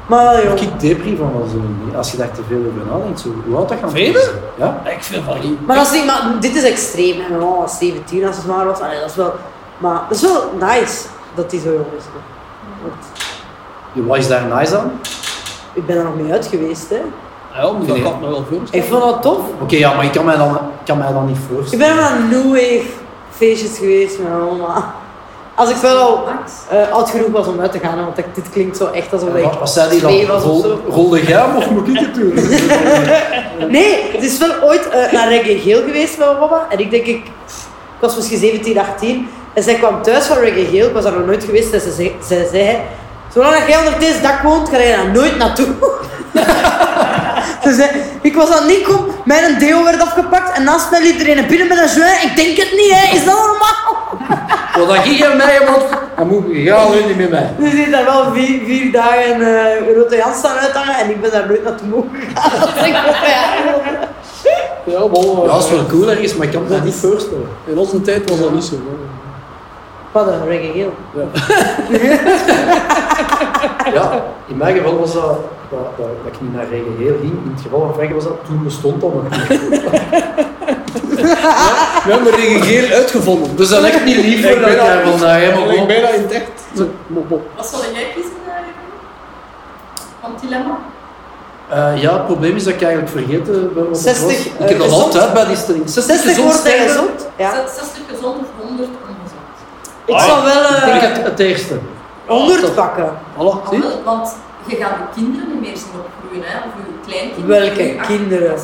Maar wel Daar heb jong. ik depri van als, een- als je daar te veel over nadenkt. Zo, hoe oud dat gaan Veel? zijn? Ja. Oh, Ik vind van geen. Maar, dat is niet, maar dit is extreem. hè. Mijn mama was 17 als ze zwanger was. Allee, dat is wel, maar dat is wel nice dat die zo jong is. nog. Want Ja, Wat is daar nice aan? Oké, ik ben er nog mee uit geweest. Hè. Ah, Ja, maar dat Nee. kan ik me wel Ik voorstellen. vond dat tof. ja, maar ik kan mij dan, ik kan mij dan niet Ik voorstellen. ben aan New Wave feestjes geweest met mijn mama. Als ik wel al eh, oud genoeg was om uit te gaan, hè, want ik- dit klinkt zo echt alsof ik Wat, wat zei die twee dan? was of Rol, zo. rolde jij hem of moet ik het doen? Nee, het is wel ooit eh, naar Reggae Geel geweest met mijn mama. En ik denk, ik, pff, ik was misschien 17, 18. En zij kwam thuis van Reggae Geel, ik was daar nog nooit geweest. En ze zei, zij zei zolang dat jij onder deze dak woont, ga je daar nooit naartoe. ze zei, ik was aan het Nico, mijn deo werd afgepakt. En naast mij liep er een binnen met een joint. Ik denk het niet, hè. is dat normaal? Wat dat ging aan mij, man. Dan moet ik gaan, nu niet met mij. Dus die heeft daar wel vier, vier dagen eh Rotte Jans staan uithangen en ik ben daar nooit naartoe mogen gaan. Dat is echt wel raar. Ja, wel, Ja, eh, dat is wel cool ergens, maar ik kan me dat niet voorstellen. In onze tijd was dat niet zo. Wat een reggae heel. Ja, in mijn geval was dat, dat, dat, dat ik niet naar Regen heel ging. In het geval van Frank was dat, toen bestond dat nog niet. We hebben regel uitgevonden. Dus dat lijkt niet lief voor dat jaar vandaag, hè, maar Ik bon. ben dat in het echt. Zo, bon, bon. Wat zou jij kiezen, eh, Jeroen? Van het dilemma? Eh, ja, het probleem is dat ik eigenlijk vergeten ben wat het 60, was. eh, Ik heb dat gezond. altijd bij die stelling. 60 gezond wordt hij sterven. gezond. Ja. 60 gezond of 100 ongezond? Ik zal wel Ik eh, denk het, het eerste. 100 pakken. Voilà, zie. Want- Want je gaat je kinderen niet meer zien opgroeien, hè? of je kleinkinderen. Welke je acht- kinderen?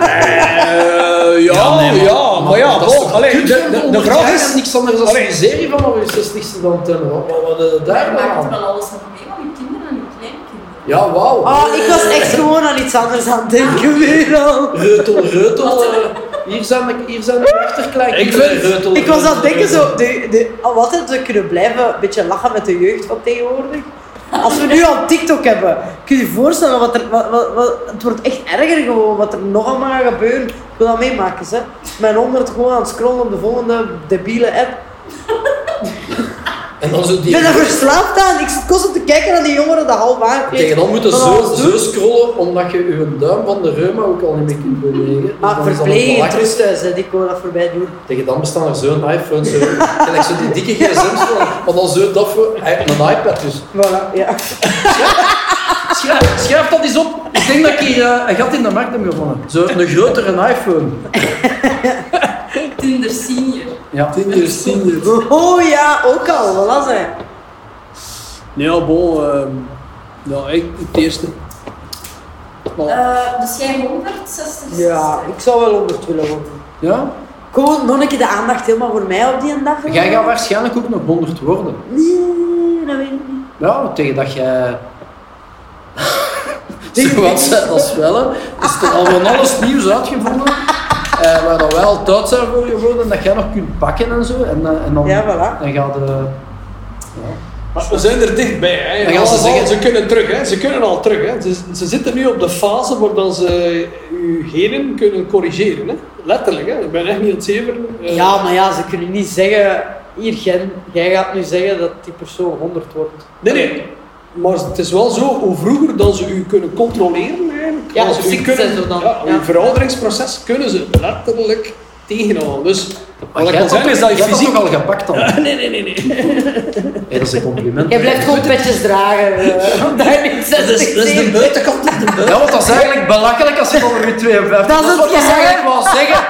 Eh, ja, nee, ja, maar ja, dat is bon, toch allee, kut, de, de, de honderd vraag jaar is... en niks anders dan Allee. een serie van over je 60ste dan tellen. Wat wat hadden we Maar daar je dan maakt aan? wel alles nog mee, maar je kinderen en je kleinkinderen. Ja, wauw. Oh, ik was echt gewoon aan iets anders aan het denken weer al. Reutel, reutel. eh, hier zijn de, hier zijn de achterkleinkinderen. Ik vind- Reutel, Ik was aan het reutel, denken reutel. zo, de, de, al altijd we kunnen blijven een beetje lachen met de jeugd van tegenwoordig. Als we nu al TikTok hebben, kun je je voorstellen wat er, wat, wat, wat- het wordt echt erger gewoon, wat er nog allemaal gaat gebeuren. Ik wil dat meemaken, hè. Mijn honderd gewoon aan het scrollen op de volgende debiele app. En dan zo Ik die... ben er verslaafd aan, ik zit constant te kijken naar die jongeren dat half aankleed. Tegen dan moeten Van zo, alles doen. zo scrollen omdat je je duim van de reuma ook al niet meer kunt bewegen. Dus Maar dus. dan is dat verpleging wel en belachelijk. rusthuis, hè, die komen dat voorbij doen. Tegen dan bestaan er zo'n iPhone, zo, gelijk zo die dikke gsm's van, maar dan zo dat voor een iPad dus. Voilà, ja. Schrijf, schrijf dat eens op. Ik denk dat ik hier eh, een gat in de markt heb gevonden. Zo een grotere iPhone. Tinder senior. Ja. Tinder, Tinder. Oh ja, ook al, voilà zijn. Nee, ja, bon, ehm, ja, ik het eerste. Voilà. Eh, dus jij 100, 60, Ja, ik zou wel 100 willen worden. ja? Gewoon nog een keer de aandacht helemaal voor mij op die dag. Jij gaat waarschijnlijk ook nog 100 worden. Nee, dat weet ik niet. Ja, tegen dat jij... Tegen Zo wat zei dat zwellen, is er al van alles nieuws uitgevonden. eh, waar dat wij al thuis zijn voor geworden, dat jij nog kunt pakken en zo. En, eh, en dan, Ja, voilà. dan gaat de... Maar we zijn er dichtbij. Hè. Dan gaan ze Allemaal, zeggen- ze kunnen terug, hè. ze kunnen al terug. Hè. Ze, ze zitten nu op de fase waar dan ze uw genen kunnen corrigeren. Hè. Letterlijk, hè. ik ben echt niet aan het zeveren. Eh, Ja, maar ja, ze kunnen niet zeggen... Hier, Gen, jij gaat nu zeggen dat die persoon 100 wordt. Nee, nee. Maar het is wel zo, hoe vroeger dan ze u kunnen controleren eigenlijk. Ja, als op ze u ziekte kunnen- zo dan. Ja, Ja. uw verouderingsproces kunnen ze letterlijk tegenhouden. Dus wat ik jij kan zeggen is dat je jij hebt fysiek... toch al gepakt dan? Nee, nee, nee. nee. Hey, dat is een compliment. Jij blijft gewoon petjes dragen. eh, omdat je niet 60 bent. buitenkant. Dat is de Ja, want dat is eigenlijk belachelijk als je dan weer 52 Dat is wat het ik geheim. eigenlijk wou zeggen.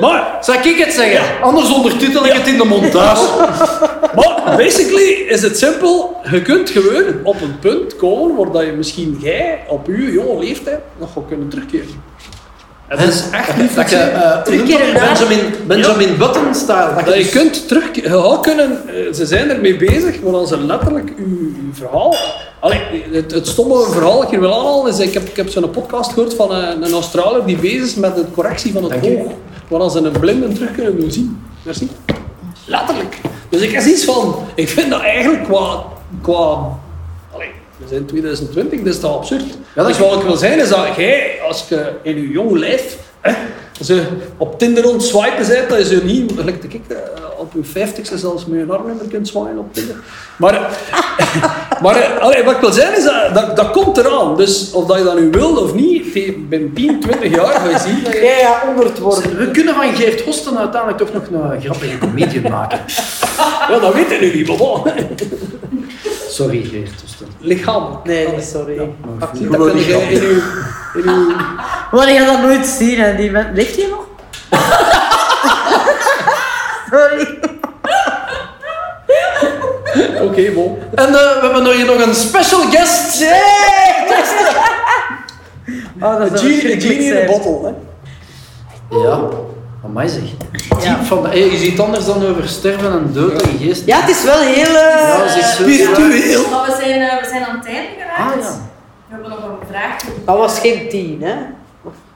Maar, Zou ik het zeggen? Anders ondertitel ik het in de montage. maar, basically is het simpel. Je kunt gewoon op een punt komen waar dat je misschien jij op je jonge leeftijd nog gaat kunnen terugkeren. Het is echt lief dat je eh, Drie noemt dat keer weer raar. Benjamin, Benjamin Button staat. Dat, je kunt terug... Je had kunnen... eh, Ze zijn ermee bezig, maar dan ze letterlijk uw, uw verhaal... Allee, het, het stomme verhaal dat ik hier wil aanhalen is... Ik heb, ik heb zo'n podcast gehoord van eh, een, een Australier die bezig is met de correctie van het Dank u. oog. Waar ze een blinden terug kunnen doen zien. Merci. Letterlijk. Dus ik heb iets van... Ik vind dat eigenlijk qua... qua allee, we zijn 2020, dat is toch absurd. dat dus wat ik wil zijn is dat jij, als je in je jong lijf... Hè, als je op Tinder rond swipen bent, dat is je niet... Gelijk dat ik eh, op je 50 zelfs met je armnummer kunt swipen op Tinder. Maar... Maar eh, allee, wat ik wil zeggen is dat, dat dat komt eraan. Dus of dat je dat nu wil of niet, tegen- binnen 10, 20 jaar ga je zien dat je... Ja, ja, onder het worden. We kunnen van Geert Hosten uiteindelijk toch nog een eh, grappige comedian maken. Ja, dat weet je nu niet, maar bon. Sorry, Geert Hosten. Lichamelijk. Nee, Allee, nee, sorry. Dat kun je in je... In uw- Maar je gaat dat nooit zien, hè. Die men... Leeft die nog? sorry. Oké, bon. En eh, we hebben hier nog een special guest. Oh, dat zou Een genie, een verschrikkelijk genie in zijn. een bottle, hè. Ja, amai zeg. Ja. Diep van de, hey, is iets anders dan over sterven en dood en geest. Ja, het is wel heel... eh, Ja, ze is zo- Virtueel. Maar we zijn, eh, we zijn aan het einde geraakt. Dus Ah, ja. We hebben nog een vraag. Dat was geen tien, hè?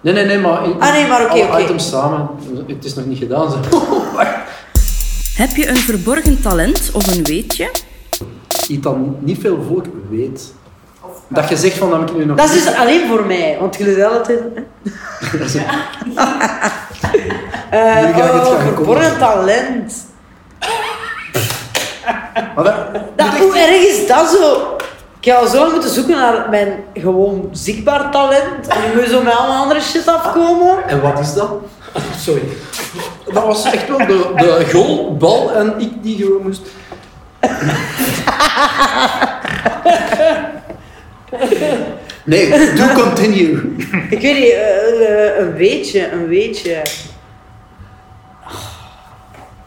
Nee, nee, nee, maar... in- Ah, nee, maar oké, alle oké. Oh, items samen. Het is nog niet gedaan, zeg. Heb je een verborgen talent of een weetje? Iets dat niet veel volk weet. Dat je zegt van, dat heb ik nu nog Dat is niet- dus alleen voor mij, want jullie zijn altijd... hè? Eh, Nu ga ik het oh, gaan verborgen komen. talent. Maar dat- Dat, hoe erg is dat zo? Ik ga al zo lang moeten zoeken naar mijn gewoon zichtbaar talent. En nu moet je zo met allemaal andere shit afkomen. En wat is dat? Sorry. Dat was echt wel de, de goal, bal en ik die gewoon moest... Nee, do continue. Ik weet niet, eh, eh, een weetje, een weetje. Ah,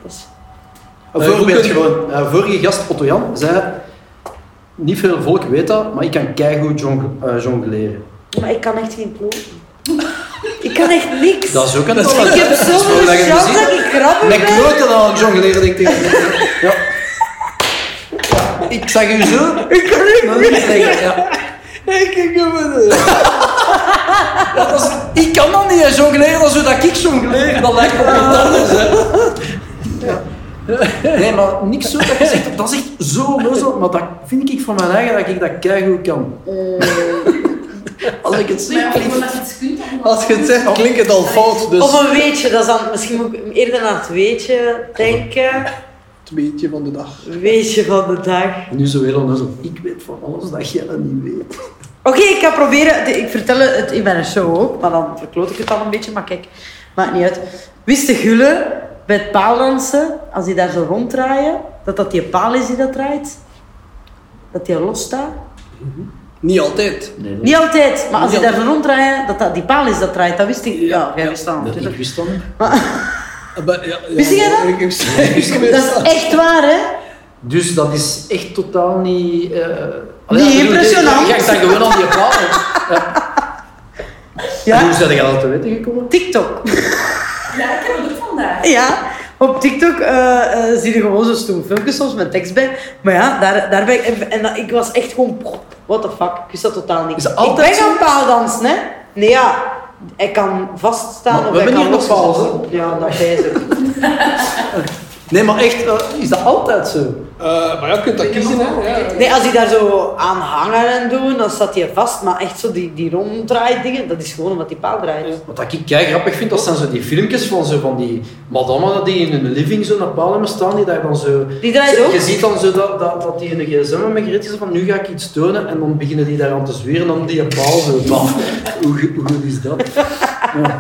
dat is- Een Eh, hoe voorbeeld kun- gewoon. Eh, vorige gast, Otto Jan, zei... Niet veel volk weet dat, maar ik kan keigoed jong- eh, jongleren. Maar ik kan echt geen ploeg. Ik kan echt niks. Dat is ook een Dat is- talent. Ik heb Dat is gewoon zo'n dat je chance muziek- dat ik grappig Met ben. kloten aan het jongleren, denk ik. tegen hem. Ja. Ja, Ik zag u zo. Ik kan echt maar niet zeggen, ja. Ik heb dus. het... Dat was- ik kan dat niet, hè, jongleren, dat is hoe dat ik jongleer. Dat lijkt me wat anders, hè. Nee, maar niks zo dat je zegt, dat is echt zo lozel. Maar dat vind ik van mijn eigen dat ik dat keigoed kan. Eh. Als ik het Maar zeg, ja, klinkt gewoon dat je iets kunt. en Als je het zegt, klinkt het al fout, dus... Of een weetje, dat is dan, misschien moet ik eerder naar het weetje denken. Het beetje van de dag. Weetje van de dag. Nu zo heel onnozel. Ik weet van alles dat jij dat niet weet. Oké, ik ga proberen. te- Ik vertel het in mijn show ook, maar dan verkloot ik het al een beetje. Maar kijk, maakt niet uit. Wist de gulle bij het paaldansen, als die daar zo ronddraaien, dat dat die paal is die dat draait? Dat die los staat? Niet altijd. Nee, Niet altijd, maar als Niet die daar zo ronddraaien, dat dat die paal is dat draait, dat wist ik. Ja, jij wist dat ik natuurlijk. wist dat niet. Eh, maar ja, ja, Wist jij dat? Ik, ik, ik, Dat is echt waar, hè? Dus dat is echt totaal niet... eh, Niet ja, ik bedoel, impressionant. Je je gaat dan gewoon aan die paal. En Hoe Ja, zijn jij dat te weten gekomen? TikTok. Ja, ik heb het ook vandaag. Ja, op TikTok eh, eh, zie je gewoon zo'n stoem filmpjes soms met tekst bij. Maar ja, daar, daar ben ik. En, en dat- ik was echt gewoon. pff, What the fuck? Ik wist dat totaal niet. Is dat ik ben altijd gaan paaldansen, hè? Nee, ja. Hij kan vaststaan Maar of we hij hebben kan hier nog losgezet pauze. worden. Ja, dat wijs ook. Nee, maar echt, eh, is dat altijd zo? Eh, maar ja, je kunt dat kiezen, hè. Ja. Nee, als die daar zo aan hangen en doen, dan staat hij vast. Maar echt zo die, die ronddraait dingen, dat is gewoon omdat die paal draait. Wat ik kei grappig vind, dat zijn zo die filmpjes van, zo van die madammen die in hun living zo naar paal hebben staan, die daar dan zo... Die draait Zo, ook. Je ziet dan zo dat, dat, dat die in de gsm hebben gereed is van nu ga ik iets tonen en dan beginnen die daaraan te zweren en dan die paal zo. bam. hoe, goed- hoe goed is dat? Ja.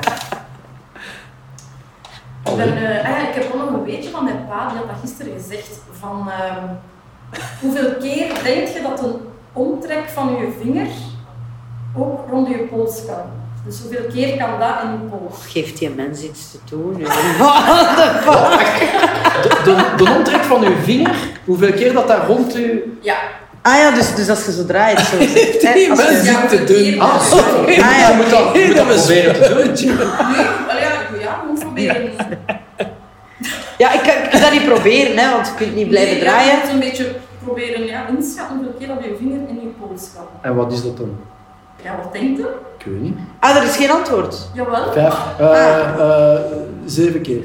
Ik, ben, eh, ah, ik heb ook nog een beetje van mijn pa, die had dat gisteren gezegd, van ehm, hoeveel keer denk je dat een omtrek van je vinger ook rond je pols kan? Dus hoeveel keer kan dat in je pols? Geeft die mens iets te doen? Ja. De, de, de omtrek van uw vinger, hoeveel keer dat daar rond u... Ja, Ah ja, dus, dus als je zo draait. Zo, zegt, hè, Die als je- mensen Ja, te doen. Ah, sorry. Ah, ja, Je moet dat, je moet dat oké. proberen te doen. Jim. Nee, wel ja, ja, moet proberen. Ja, ik kan, ik kan dat niet proberen, hè, want je kunt niet blijven Nee, ja, draaien. Je moet een beetje proberen ja, inschatten hoeveel keer dat je vinger in je pols gaat. En wat is dat dan? Ja, wat denkt je? Ik weet niet. Ah, er is geen antwoord. Jawel. Vijf, eh, Ah. eh, zeven keer.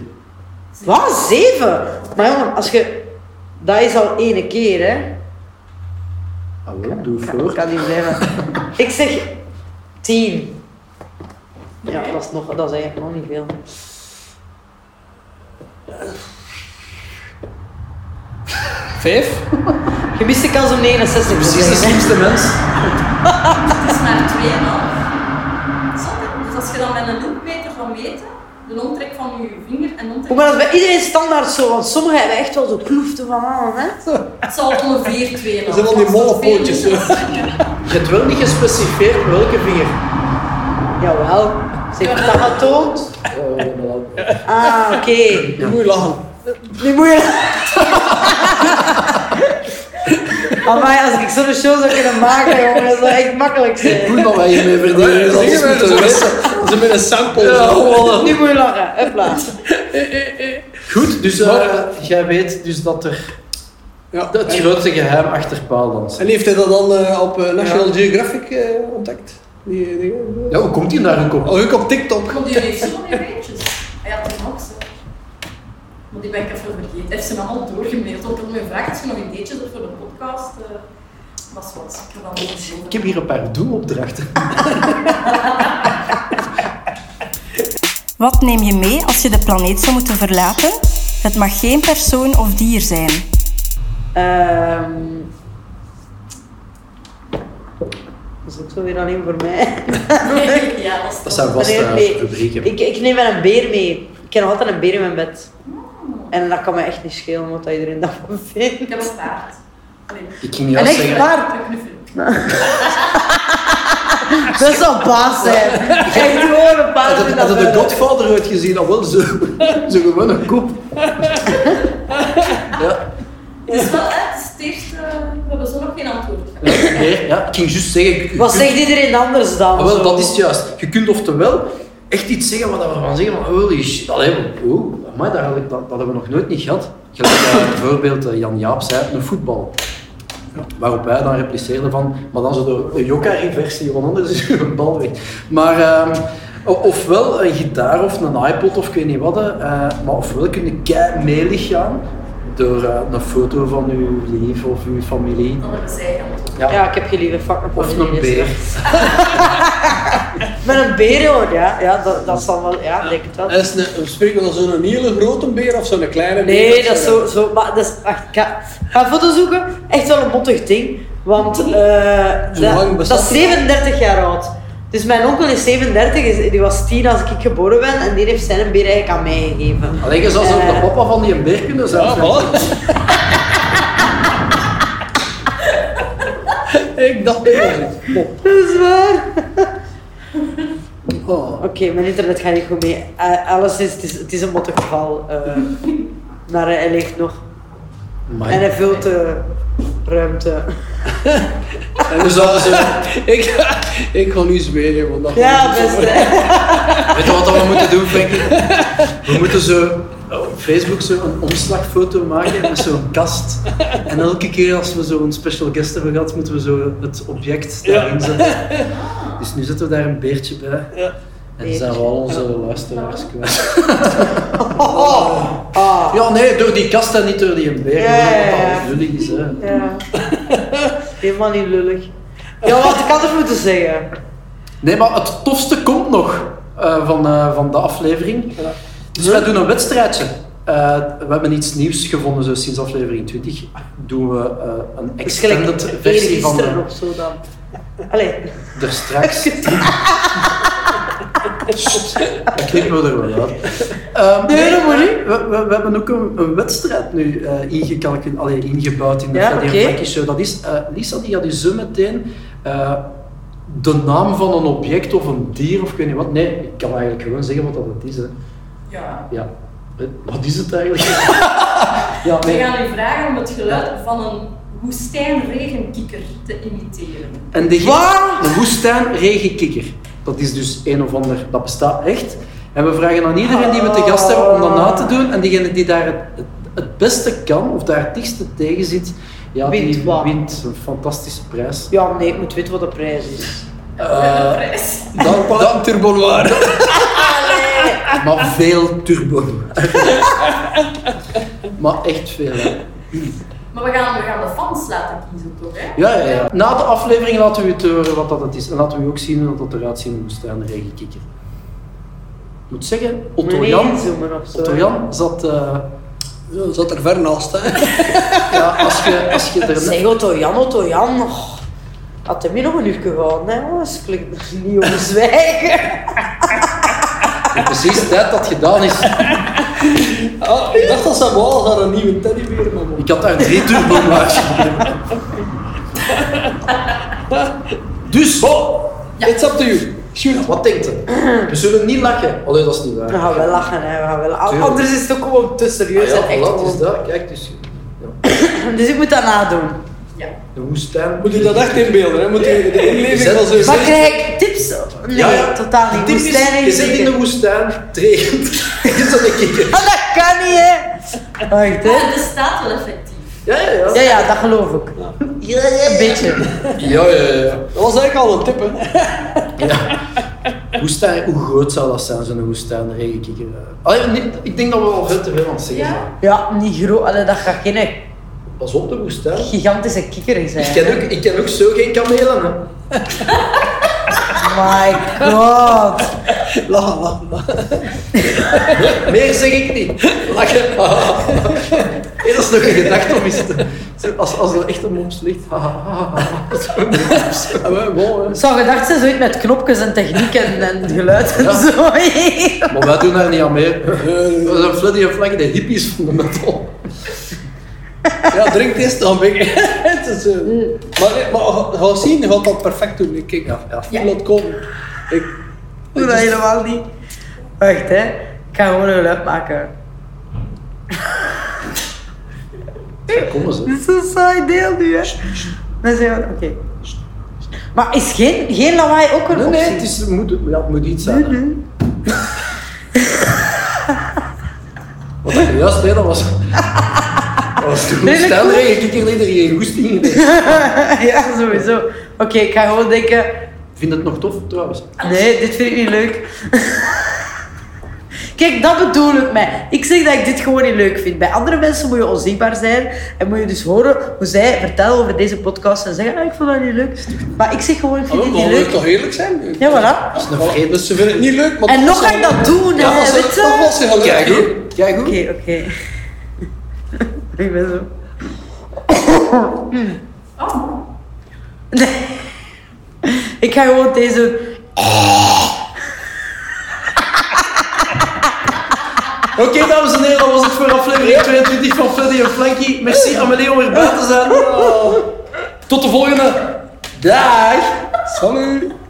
Wat? Zeven? Maar jongen, als je... Dat is al ene keer, hè. Ah, wel, doe Ik voor. kan niet blijven. Ik zeg tien. Ja, dat is, nog, dat is eigenlijk nog niet veel. Vijf? Je mist de kans om 69 te Precies de zeggen, hè. slimste mens. Het is maar 2,5. Snap je? Dus als je dan met een loopmeter gaat meten, de omtrek van je vinger en de omtrek... Ook maar dat is bij iedereen standaard zo, want sommigen hebben echt wel zo ploefte van aan, hè. Het zal ongeveer 2,5. Dat zijn wel die malle pootjes, hè. Je hebt wel niet gespecificeerd welke vinger. Jawel. Ze heeft dat getoond. Eh, Ah, oké. Je moet lachen. Nu moet je... Amai, als ik zo'n show zou kunnen maken, jongen, dat zou echt makkelijk zijn. Goed dat wij hiermee verdienen. Ze Dat is zijn goed te weten. met een sample. Ja, zo. voilà. Nu moet je lachen, huppla. Goed, dus eh, Maar- jij weet dus dat er Ja. het grootste geheim achter paaldans En heeft hij dat dan eh, op eh, National Geographic eh, ontdekt? Die, die- Ja, hoe komt hij daar ook op? Oh, ik op TikTok. Komt jullie zo die beetjes? Ah Hij had die nog zo. Maar die ben ik even vergeten. Heeft ze allemaal doorgemaild? Want ik had me gevraagd, als je nog een deetje hebt voor de podcast? eh, dat is wat. Ik heb dat niet zo. Ik heb hier een paar doelopdrachten. Wat neem je mee als je de planeet zou moeten verlaten? Het mag geen persoon of dier zijn. Ehm dat is ook zo weer alleen voor mij. Ja, dat is Dat eh, zijn vaste toch- Wanneer- nee. rubrieken. ik, ik neem wel een beer mee. Ik heb nog altijd een beer in mijn bed. En dat kan me echt niet schelen, wat dat iedereen daarvan vindt. Ik heb een paard. Allee, Ik ging juist En zeggen... echt waar, een knuffel. dat zou baas zijn. Echt gewoon een baas Had in het, had dat het de bed. Godfather uitgezien, dan wel zo, zo gewoon een kop. Ja, Het is wel hè, het is het eerste, we hebben zo nog geen antwoord gehad. ja, nee, ja, ik ging juist zeggen... je Wat kunt- zegt iedereen anders dan? Ah, wel, zo? dat is het juist. Je kunt oftewel echt iets zeggen waar we van zeggen van holy shit, allee, oh, amai, dat, had ik- dat, dat hebben we nog nooit niet gehad. Gelijk eh, bijvoorbeeld eh, Jan Jaap zei, een voetbal. Waarop wij dan repliceerden van, maar dan zo de Jokari-versie, want anders is een bal weg. Maar, ehm, o- ofwel een gitaar of een iPod of ik weet niet wat, eh, maar ofwel kun je kei meelig gaan door eh, een foto van uw lief of uw familie. Dan hebben zij antwoord. Ja, ik heb gelieven fuck een Of pony, een dus, beer. hè. Met een beer, hoor, ja. Ja, dat, dat zal wel... Ja, ik denk Eh, het wel. En is een, we spreken we dan zo'n hele grote beer of zo'n kleine beer? Nee, dat is zo. zo maar dat is, ach, ik ga, ik ga een foto zoeken. Echt wel een bottig ding. Want eh, Zo lang dat, bestaat dat is het 37 jaar oud. Dus mijn onkel is 37, is- die was 10 als ik geboren ben. En die heeft zijn beer eigenlijk aan mij gegeven. Allee, je zou zo Eh. de papa van die beer kunnen zijn. Ja, voilà. Ik dacht dat was het. Pop. Dat is waar. Oh. Oké, mijn internet gaat niet goed mee. Eh, alles is, het is, het is een mottig geval. eh, maar eh, hij leeft nog. Amai. En hij vult de ruimte. En dus dat is- ik, ik ga nu zweren, want dat Ja, gaat niet zo. beste. Weet je wat we moeten doen, Frankie? We moeten zo oh, op Facebook zo een omslagfoto maken met zo'n kast. En elke keer als we zo'n special guest hebben gehad, moeten we zo het object daarin zetten. Dus nu zetten we daar een beertje bij. Ja. En dan zijn we al onze luisteraars kwijt. Oh. Ah. Ja, nee, door die kast en niet door die beer. Ja, ja, ja. Dat dat al lullig is, hè. Ja. Helemaal niet lullig. Ja, wat ik had het moeten zeggen. Nee, maar het tofste komt nog eh, van, eh, van de aflevering. Dus wij doen een wedstrijdje. Eh, we hebben iets nieuws gevonden zo sinds aflevering 20. Doen we eh, een Het is gelijk extended versie van de, eergisteren of zo dan. Allee. er straks. Dat knippen we er wel uit. Ehm, Nee, dat moet niet. We, we, we hebben ook een, een wedstrijd nu eh, ingekalken- allee, ingebouwd in de Ja, Freddy oké. en Frankie Show. Dat is, eh, Lisa die had dus zo meteen eh, de naam van een object of een dier of ik weet niet wat. Nee, ik kan eigenlijk gewoon zeggen wat dat het is. Hè. Ja. Ja. Eh, Wat is het eigenlijk? ja, We nee. gaan u vragen om het geluid van een woestijnregenkikker te imiteren. En de Wat? Een woestijnregenkikker. Dat is dus een of ander, dat bestaat echt. En we vragen aan iedereen die we te gast hebben om dat na te doen. En degene die daar het, het, het beste kan, of daar het dichtste tegen zit, ja, die Wint wat? wint een fantastische prijs. Ja, nee, ik moet weten wat de prijs is. Eh. Een prijs. Dan, dan turbonoir. Maar veel turbo. maar echt veel. hè. Maar we gaan, we gaan de fans laten kiezen, toch? Hè? Ja, ja, ja. Na de aflevering laten we het horen wat dat het is. En laten we ook zien hoe dat eruit ziet, een woestijnregenkikker. Ik moet zeggen, Otto Jan, Meezoemen of zo. Otto Jan zat... eh, Ja, zat er ver naast. Hè. ja, als je, als je er... Zeg Otto Jan, Otto Jan. oh, Had hem hier nog een uur gehouden, hè? Oh, Anders klinkt er niet om zwijgen. Precies tijd dat gedaan is. Ah, ik dacht dat ze wel had een nieuwe teddybeer, maar Ik had daar drie turbo's Dus, ja. it's up to you. Shoot. wat denkt u? We zullen niet lachen. Allee, dat is niet waar. We gaan wel lachen, hè? We gaan wel lachen. Tuurlijk. Anders is het ook gewoon te Ah serieus. ja, en echt voilà, het is gewoon- dat. Kijk, dus ja. Dus ik moet dat nadoen. Ja. de woestijn. Moet je dat echt inbeelden, hè? Moet je de inleving Zet- van zo'n Maar krijg ik tips? Nee, Ja, ja. totaal niet. Tip is, Woestijn je zit in de ingewikkeld. woestijn, het regent. Is dat een kikker? Ah, dat kan niet, hè? Wacht, hè? Het bestaat Eh, wel effectief. Ja, ja, Ja, ja. ja, dat geloof ik. Een beetje. Ja, ja, ja. Dat was eigenlijk al een tip, hè? Woestijn, hoe groot zou dat zijn, zo'n woestijn, regenkikker? Allee, nee, ik denk dat we al veel te veel aan het zeggen Ja. zijn. Ja, niet groot. Allee, dat gaat geen Pas op, de woestijn. gigantische kikker Ik zijn. ken ook, ik ken ook zo geen kamelen, hè. My god. Lachen, lachen, lachen. Meer zeg ik niet. Lachen. Nee, dat is nog een gedachte om eens te... Zo, Als, als er echt een mond ligt. Zo. Ah, wel, wel, hè. Het zou gedacht zijn, zoiets met knopjes en techniek en, en geluid en Ja. zo. Maar wij doen daar niet aan mee. We zijn Freddy en Flaggy, de hippies van de metal. Ja, drink eerst dan, Bik. Het is, eh, Mm. Maar, maar ga- ga zien, je gaat dat perfect doen. Ik kijk, ja, ja. voel dat komen. Ik, Doe dat helemaal niet. Wacht, hè. Ik ga gewoon een geluid maken. Daar komen ze. Dit is een saai deel nu, hè. Dan zijn we... Oké. Maar is geen, geen lawaai ook een Nee, optie? nee, het, is, het moet, ja, het moet iets Mm. zijn. hè. Wat ik juist deed, dat was... Dat was de Nee, dat woestijn regenkikker die er geen goesting in heeft. ja, sowieso. Oké, ik ga gewoon denken... Ik Vind het nog tof, trouwens. Nee, dit vind ik niet leuk. Kijk, dat bedoel ik mij. Ik zeg dat ik dit gewoon niet leuk vind. Bij andere mensen moet je onzichtbaar zijn en moet je dus horen hoe zij vertellen over deze podcast en zeggen, ah, ik vond dat niet leuk. Maar ik zeg gewoon, ik vind Hallo, dit Oh, maar niet leuk. we moeten toch eerlijk zijn? Ja, voilà. Oh, Dat is een vrede. Dus ze vinden het niet leuk, maar... En toch nog was ga ik ze- dat doen, Ja, hè. was weet ze- toch je? was ze gelukkig. Kijk goed. Kijk goed. Oké, oké. Ik ben zo... Oh, Ik ga gewoon deze... Oké, dames en heren, dat was het voor aflevering 22 van Freddy en Flanky. Merci Amelie om erbij te zijn. Tot de volgende. Dag! Salut.